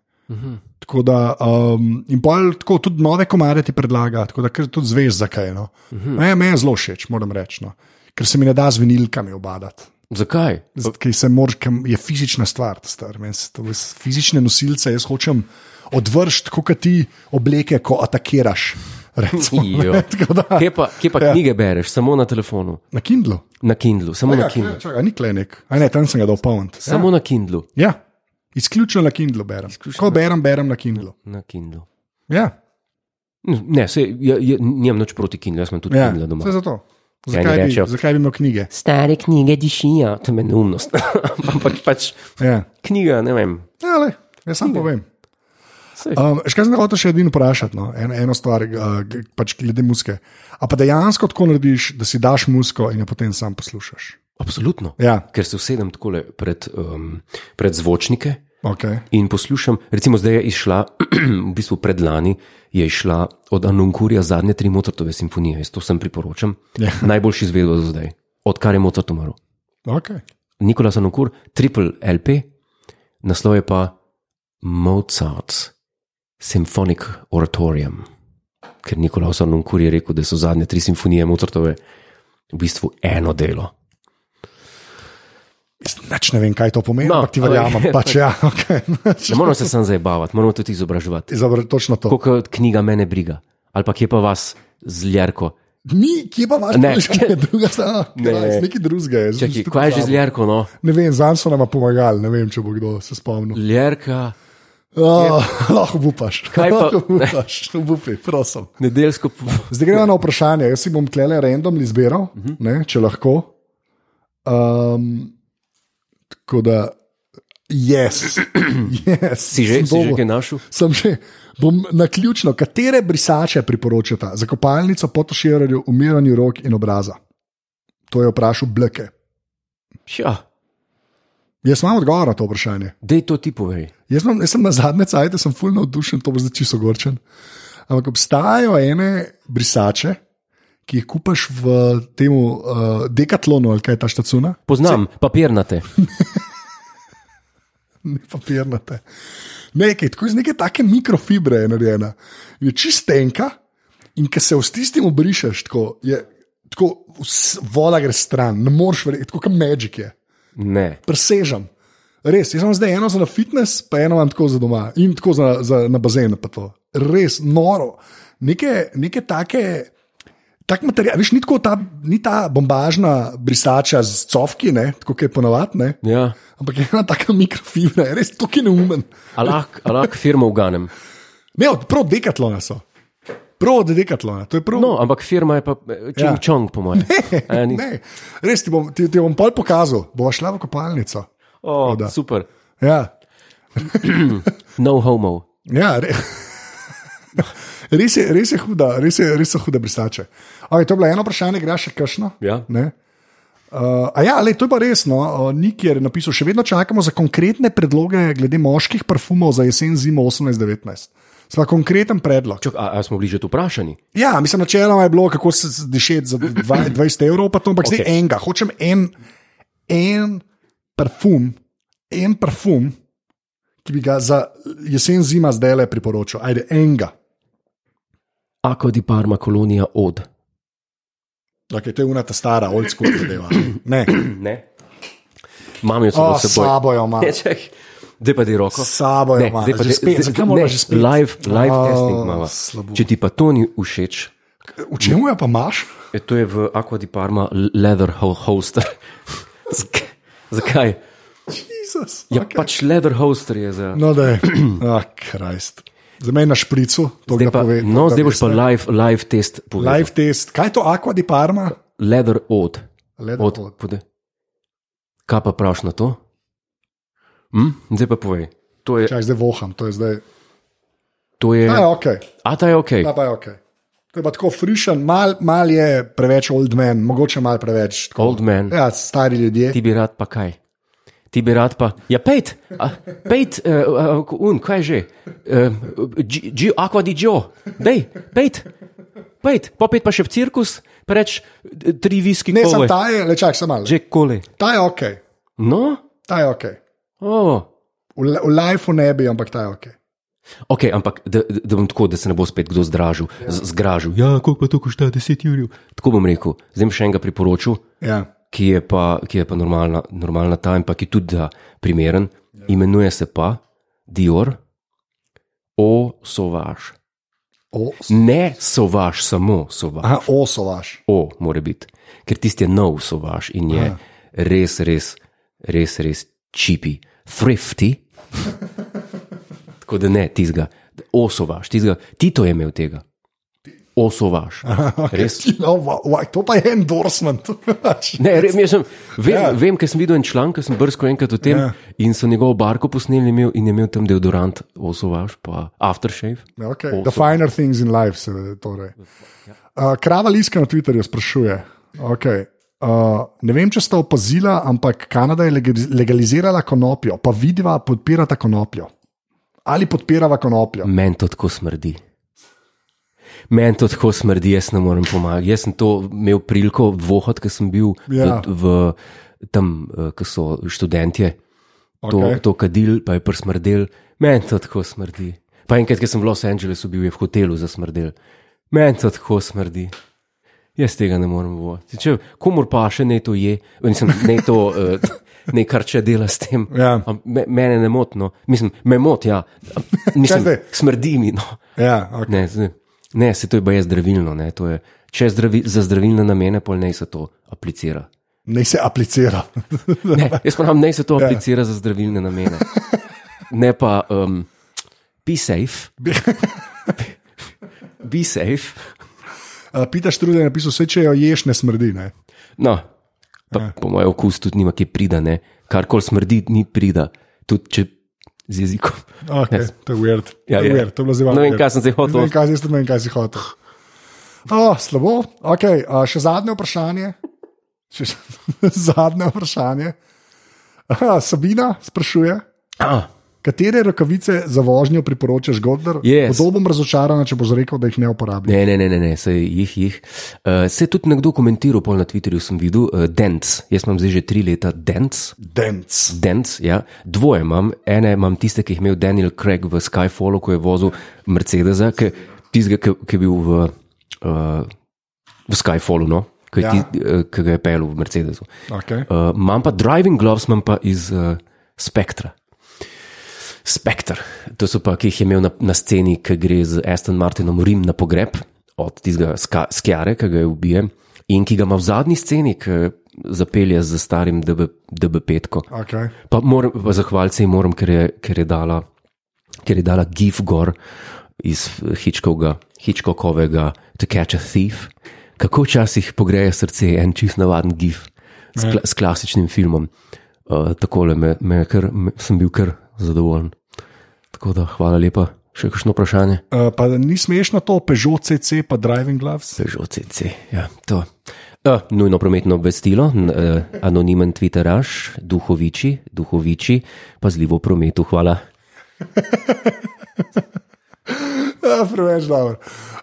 B: Tako da, um, in bolj tako tudi nove komare ti predlaga, tako da kar tudi zveš, zakaj. No. Uh -huh. Me me je zelo všeč, moram reči, no. ker se mi ne da z vinilkami obadati.
A: Zakaj?
B: Z- ki se mora, ki je fizična stvar, ta star. Meni se to- jaz Fizične nosilce jaz hočem odvršiti, kot ti obleke, ko atakiraš. Recimo,
A: Ijo.
B: ne, tako da-
A: Kje pa, kje pa ja. knjige bereš, samo na telefonu,
B: Na Kindlu.
A: na Kindlu, samo ja, na
B: Ja,
A: Kindlu.
B: kle- čakaj, a ni klenek, a ne, tam sem ga dal poln.
A: Samo ja. na Kindlu.
B: Ja, izključno na Kindlu berem. Ko berem, berem na Kindlu.
A: Na Kindlu.
B: Ja,
A: Ne, se, ja, ja, nimam nič proti Kindlu, jaz sem tudi ja.
B: ja.
A: Kindla
B: vse
A: doma.
B: zato.
A: eni
B: Zakaj bi,
A: rečejo-
B: zakaj bi imel knjige?
A: Stare knjige dišijo, to je neumnost. Ampak pač
B: Ja.
A: knjiga, ne vem.
B: Ja, le, jaz sam povem.
A: Saj.
B: Um, še kaj sem hotel še edino vprašati, no? eno, eno stvar, uh, g- pač glede muske. A pa dejansko tako narediš, da si daš musko in jo potem sam poslušaš.
A: Absolutno.
B: Ja,
A: Ker se usedem takole pred, um, pred zvočnike
B: ok.
A: in poslušam, recimo zdaj je izšla, v bistvu predlani je išla od Anunkurja zadnje tri Mozartove simfonije, jaz to sem priporočam.
B: Ja.
A: Ja. Najboljši izvedel do zdaj, odkar je Mozart umrl.
B: okay.
A: Nikola Sanokur, triple LP, naslov je pa Mozart's Symphonic Oratorium. Ker Nikola Sanokur je rekel, da so zadnje tri simfonije Mozartove v bistvu eno delo.
B: Jaz Nič ne vem, kaj to pomeni,
A: No,
B: no, ampak ti
A: ampak-
B: verjamem. Pač, ja, okay.
A: Ne moramo se samo zabavati, moramo tudi izobraževati.
B: Zabr, točno to.
A: Tako kot knjiga mene briga, ali pa kje pa vas z ljerko.
B: Ni, kje pa imaš
A: Ne.
B: nekaj drugega,
A: Ne.
B: ne. nekaj drugega. jaz sem
A: Čakaj,
B: se
A: kaj je že z
B: pozabil.
A: ljerko? No?
B: Ne vem, zanj so nam pomagali, ne vem, če bo kdo se spomnil.
A: Ljerka,
B: Oh, lahko upaš,
A: Kaj pa-
B: lahko upaš, upi, prosim.
A: nedeljsko. po-
B: Zdaj gremo na vprašanje. Jaz si bom klele random izbiral, uh
A: Mhm.
B: -huh. ne, če lahko. Um, tako da, yes. yes.
A: Si že, si že
B: Sem
A: kaj
B: dobil.
A: našel?
B: Sem že. Bom na ključno, katere brisače priporočate za kopalnico po tuširju, umiranju rok in obraza? To je vprašal Bleke.
A: Ja,
B: Jaz imam odgovor na to vprašanje.
A: dej to ti povej.
B: Jaz, imam, jaz sem na zadnje cajt, sem fulno navdušen, to bo zdaj čisto gorčen. Ampak obstajajo ene brisače, ki jih kupaš v tem uh, dekatlonu ali kaj je ta štacuna,
A: Poznam, papirnate.
B: ne papirnate. Nekaj, tako iz neke take mikrofibre je narejena. In je čistenka in ki se v tistim obrišeš, tako je. Tako vs- voda gre stran, ne moreš verjeti, tako kot Magic je.
A: Ne.
B: Presežem. Res, jaz imam zdaj eno za na fitness, pa eno imam tako za doma in tako za, za na bazen. pa to. Res noro. Neke, neke take. Tak material, veš, ni tako ta, ni ta bombažna brisača z cofki, ne, tako kot je ponavadi,
A: Ja.
B: ampak je ena taka mikrofibra, je res tako neumen.
A: Alak firma uganem.
B: Ne, od prav dekatlona so. Prav od dekatlona, to je prav.
A: No, ampak firma je pa
B: Ja.
A: čing-čong, po mojem. A ja, ni?
B: ne, res ti bom, ti, ti bom pol pokazal, bo šla v kopalnico.
A: O,
B: da.
A: super.
B: Ja,
A: No homo.
B: Ja, re... res, je, res je huda, res, je, res so hude brisače. Okay, to je bilo eno vprašanje, gre še kakšno?
A: Ja.
B: Ne? Uh, a ja, le, to je pa resno. Uh, Nik je napisal, še vedno čakamo za konkretne predloge glede moških parfumov za jesen, zimo 18-19. Sva konkreten predlog.
A: Čak, a, a smo bili že tu vprašani?
B: Ja, mislim, načeloma je bilo, kako se z- dišeti za dva- 20 evrov, pa to, ampak okay. zdaj
A: Okej.
B: enega. Hočem en, en parfum, en parfum, ki bi ga za jesen, zima zdaj le priporočil. Ajde, enega.
A: Ako di Parma kolonija od.
B: Okay, to je unata stara, old school zadeva. Ne,
A: Ne. Imam jo
B: o,
A: samo s seboj.
B: sabo jo imam.
A: Ne, čakaj. Zdaj pa di roko.
B: Sabo jo
A: Ne,
B: imam.
A: zdaj pa
B: Že
A: de-
B: spet,
A: zdaj-
B: zakaj
A: ne,
B: moraš že spet?
A: Live, live
B: O,
A: testing imamo.
B: slabo.
A: Če ti pa to ni všeč,
B: V čemu jo pa imaš?
A: e, to je v Aqua di Parma leather ho- holster. Zak- Zakaj?
B: Jezus.
A: Ja,
B: okej.
A: pač leather holster je za.
B: No, da je. Ah, krajst. Za me je na špricu, to
A: Zdaj
B: ga
A: pa,
B: pove. to
A: no,
B: ga
A: zdaj boš pa
B: veste.
A: live, live test povedal.
B: Live test. Kaj je to, aqua di parma?
A: Leather od.
B: Leather
A: od,
B: od.
A: od. Kaj pa praviš na to? Hm? Zdaj pa povej. To je.
B: Čak, zdaj voham, to je zdaj.
A: To je
B: Ta je ok,
A: a ta je ok.
B: ta pa je ok. To je pa tako frišen, mal, mal je preveč old man, mogoče mal preveč. Tako.
A: Old man.
B: Ja, stari ljudje.
A: Ti bi rad pa kaj? Ti bi rad pa. Ja, pet, A, pet, uh, un, kaj že? Uh, aqua di Gio, dej, pet, pet, pa pet pa še v cirkus, preč eh, tri viski
B: Ne,
A: kole.
B: sem ta je, le čak, sem mal.
A: Že kole.
B: Ta je ok,
A: No,
B: ta je ok.
A: oh.
B: V, li- v lifeu ne bi, ampak ta je ok.
A: ok, ampak da, da da bom tako, da se ne bo spet kdo zdražil, z- zgražil. Ja, koliko pa to košta, deset jurjev. Tako bom rekel, zdaj bom še enega priporočil,
B: Ja.
A: ki je pa, ki je pa normalna, normalna ta in pa ki je tudi da, primeren. Imenuje se pa Dior O Sovaž.
B: O,
A: Ne sovaž, samo sovaž.
B: aha, oso vaš.
A: O, mora biti, ker tisti je nov sovaž in je res, res, res, res čipi, thrifty. Tako da ne, tizga, o sovaž, tizga, Tito je imel tega. O sovaž. Res.
B: No, wa, wa, to pa je endorsement. pač.
A: Ne, re, jaz sem, vem, ja. vem ker sem videl en članek, ker sem brskal enkrat o tem ja.
B: Ja.
A: in so njegovo barko posneli imel, in je imel tam deodorant, osovaš, pa aftershave.
B: Ja, Okay. The finer things in life, seveda. Torej. Uh, Krava Liska na Twitterju sprašuje. Okay. Uh, ne vem, če ste opazili, ampak Kanada je legaliz- legalizirala konopljo, pa vidiva podpirata konopljo. Ali podpirava konopljo.
A: Meni to tako smrdi. Meni to tako smrdi, jaz ne morem pomagati. Jaz sem to imel priliko vohati, ker sem bil
B: Ja.
A: v, v tam, ki so študentje. To,
B: Okej.
A: okay. to kadil, pa je prsmrdel. Meni to tako smrdi. Pa enkrat, ker sem v Los Angelesu bil, je v hotelu zasmrdel. Meni to tako smrdi. Jaz tega ne morem voditi. Če komor pa še ne to je, mislim, ne to, uh, ne kar če dela s tem.
B: Ja.
A: Am- Me, mene ne motno, mislim, me mot, ja. Mislim,
B: zdaj?
A: smrdi mi. No.
B: Ja, okay.
A: Ne, zdaj- ne, se to je baje zdravilno. Ne, to je, če je zdravi, za zdravilne namene, pol naj se to aplicira.
B: Naj se aplicira.
A: Ne, jaz pravim, naj se to aplicira za zdravilne namene. Ne pa um, be safe. Be safe.
B: Uh, Pitaš trude, je napisal, vse če jo ješ, ne smrdi. Ne?
A: No, pa, po mojem okusu tudi nima, ki prida, ne. kar kol smrdi, ni prida. Tudi če z jezikom.
B: Okay, to je weird.
A: Ja,
B: to, je
A: ja.
B: weird. to je bilo zelo
A: Ne vem, kaj sem zdaj hotel.
B: Ne vem, kaj, jaz tudi ne vem, kaj si hotel. Oh, slabo. Okay, uh, še zadnje vprašanje. Še zadnje vprašanje. Uh, Sabina sprašuje,
A: Ah,
B: Katere rokavice za vožnjo priporočaš, Gordon?
A: Yes.
B: Zelo bom razočaran, če boš rekel, da jih ne uporabljam.
A: Ne, ne, ne, ne, ne se jih jih. Uh, se je tudi nekdo komentiral, pol na Twitterju sem videl, uh, Dance. Jaz imam zdaj že tri leta Dance.
B: Dance.
A: Dance, ja. Dvoje imam, ene imam tiste, ki jih je imel Daniel Craig v Skyfallu, ko je vozil Mercedesa, ki, tistega, ki, ki je bil v, uh, v Skyfallu, no? ki, ja.
B: Ja.
A: ti, uh, ki ga je pel v Mercedesu.
B: Okay.
A: Uh, imam pa driving gloves, imam pa iz uh, Spectra. Spectre, to so pa, ki jih je imel na, na sceni, ki gre z Aston Martinom v Rim na pogreb, od tistega ska- skjare, ki ga je ubije, in ki ga ima v zadnji sceni, ki zapelje z starim DB, DB5. -ko.
B: Okay.
A: Pa, moram, pa zahvaliti se ji moram, ker je, ker je dala, ker je dala GIF gor iz Hitchcocka- Hitchcockovega To Catch a Thief. Kako včasih pogreje srce en čist navaden GIF s, kla, s klasičnim filmom. Uh, takole me, me, je kar, me, sem bil kar zadovoljen. Tako da hvala lepa. Še kakšno vprašanje?
B: Uh, pa ni smešno to, Peugeot CC, pa driving gloves.
A: Peugeot CC, ja, to. Uh, nujno prometno obvestilo, n- eh, anonimen Twitteraš, duhoviči, duhoviči, pazljivo v prometu, hvala.
B: Ja, preveč dobro.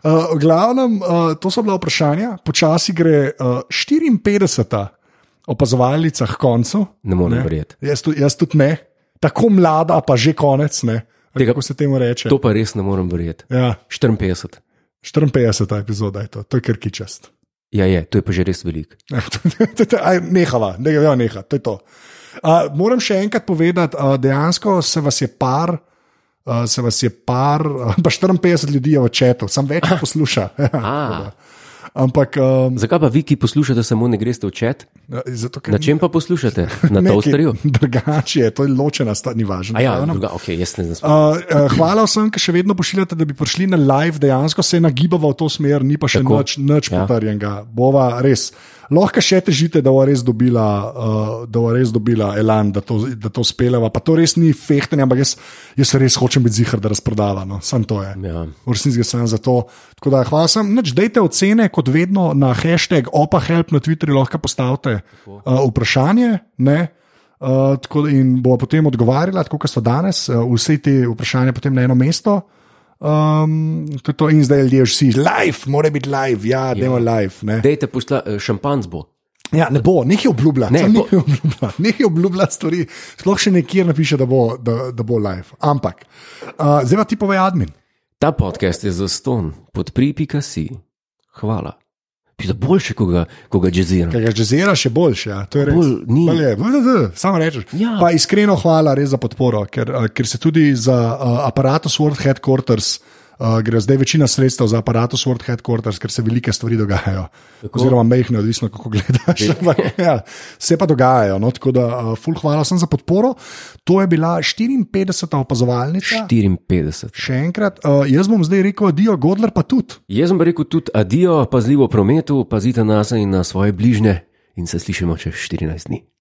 B: Uh, v glavnem, uh, to so bila vprašanja, počasi gre uh, 54. opazovalnica k koncu.
A: Ne morem verjeti.
B: Jaz, tu, jaz tudi ne, tako mlada, pa že konec. Ne? Ali
A: Tega-
B: Kako se temu reče?
A: To pa res ne morem verjeti.
B: Ja,
A: 54.
B: 54. epizoda je to, to je krki čast.
A: Ja, je, to je pa že res velik.
B: Ja, to- to- to- aj, Nehala, ne gre, ja, neha, to je to. Uh, moram še enkrat povedati, uh, dejansko se vas je par. Uh, se vas je par, uh, pa 54 ljudi je v četu, sem več jih posluša.
A: A,
B: Ampak um,
A: zakaj pa vi, ki poslušate, samo ne greste v čat?
B: zato, ker
A: Na čem pa poslušate? Na
B: Nekaj
A: toasterju?
B: Drugače je, to je ločena stvar, ni
A: A
B: važno.
A: ja,
B: Glavno,
A: druga, ok, jaz ne znam.
B: Uh, uh, hvala vsem, ki še vedno pošiljate, da bi prišli na live, dejansko se nagibava v to smer, ni pa še
A: Tako.
B: nič, nič
A: Ja.
B: ja. potrjenega. Bova res. Lahko še težite, da bo res dobila, uh, da bo res dobila elan, da to, da to speleva. Pa to res ni fehtenje, ampak jaz, jaz res hočem biti zihar, da razprodava. No. Sam to je.
A: Ja.
B: V resnici gre samo za to. Tako da hvala sem. Nič, dejte ocene, kot vedno na hashtag opahelp na Twitterju lahko postavite uh, vprašanje. ne. Uh, tako da- in bo potem odgovarjala, tako kot so danes, uh, vse te vprašanja potem na eno mesto. Um, to je to in zdaj ljudje vsi, live, mora biti live, ja, demo live. Ne.
A: Dejte pošla, eh, šampanc bo.
B: Ja, ne bo, nekaj obljublja,
A: Ne,
B: ne,
A: bo-
B: nekaj obljublja, nekaj obljublja stvari. Sploh še nekje napiše, da bo, da, da bo live. Ampak, uh, zdaj pa ti povej, admin.
A: Ta podcast je za ston, podpri.si. Hvala. Pisa boljše, ko ga, ko ga jaziram.
B: Ker ga žezera še boljš, ja, to je res.
A: Bolj ni.
B: Bolj je, bl, bl, bl, samo rečeš.
A: Ja.
B: Pa iskreno hvala res za podporo, ker, eh, ker se tudi za uh, aparatus World Headquarters. Uh, gre zdaj večina sredstev za aparatus World Headquarters, ker se velike stvari dogajajo. Tako. Oziroma, mehne, odvisno kako gledaš. Ampak, ja, se pa dogajajo. No? Tako da, uh, ful, hvala sem za podporo. To je bila 54. opazovalnica.
A: 54.
B: Še enkrat, uh, jaz bom zdaj rekel, Dio Godler pa tudi.
A: Jaz sem pa rekel tudi adijo, pazljivo v prometu, pazite nas in na svoje bližnje in se slišimo čez 14 dni.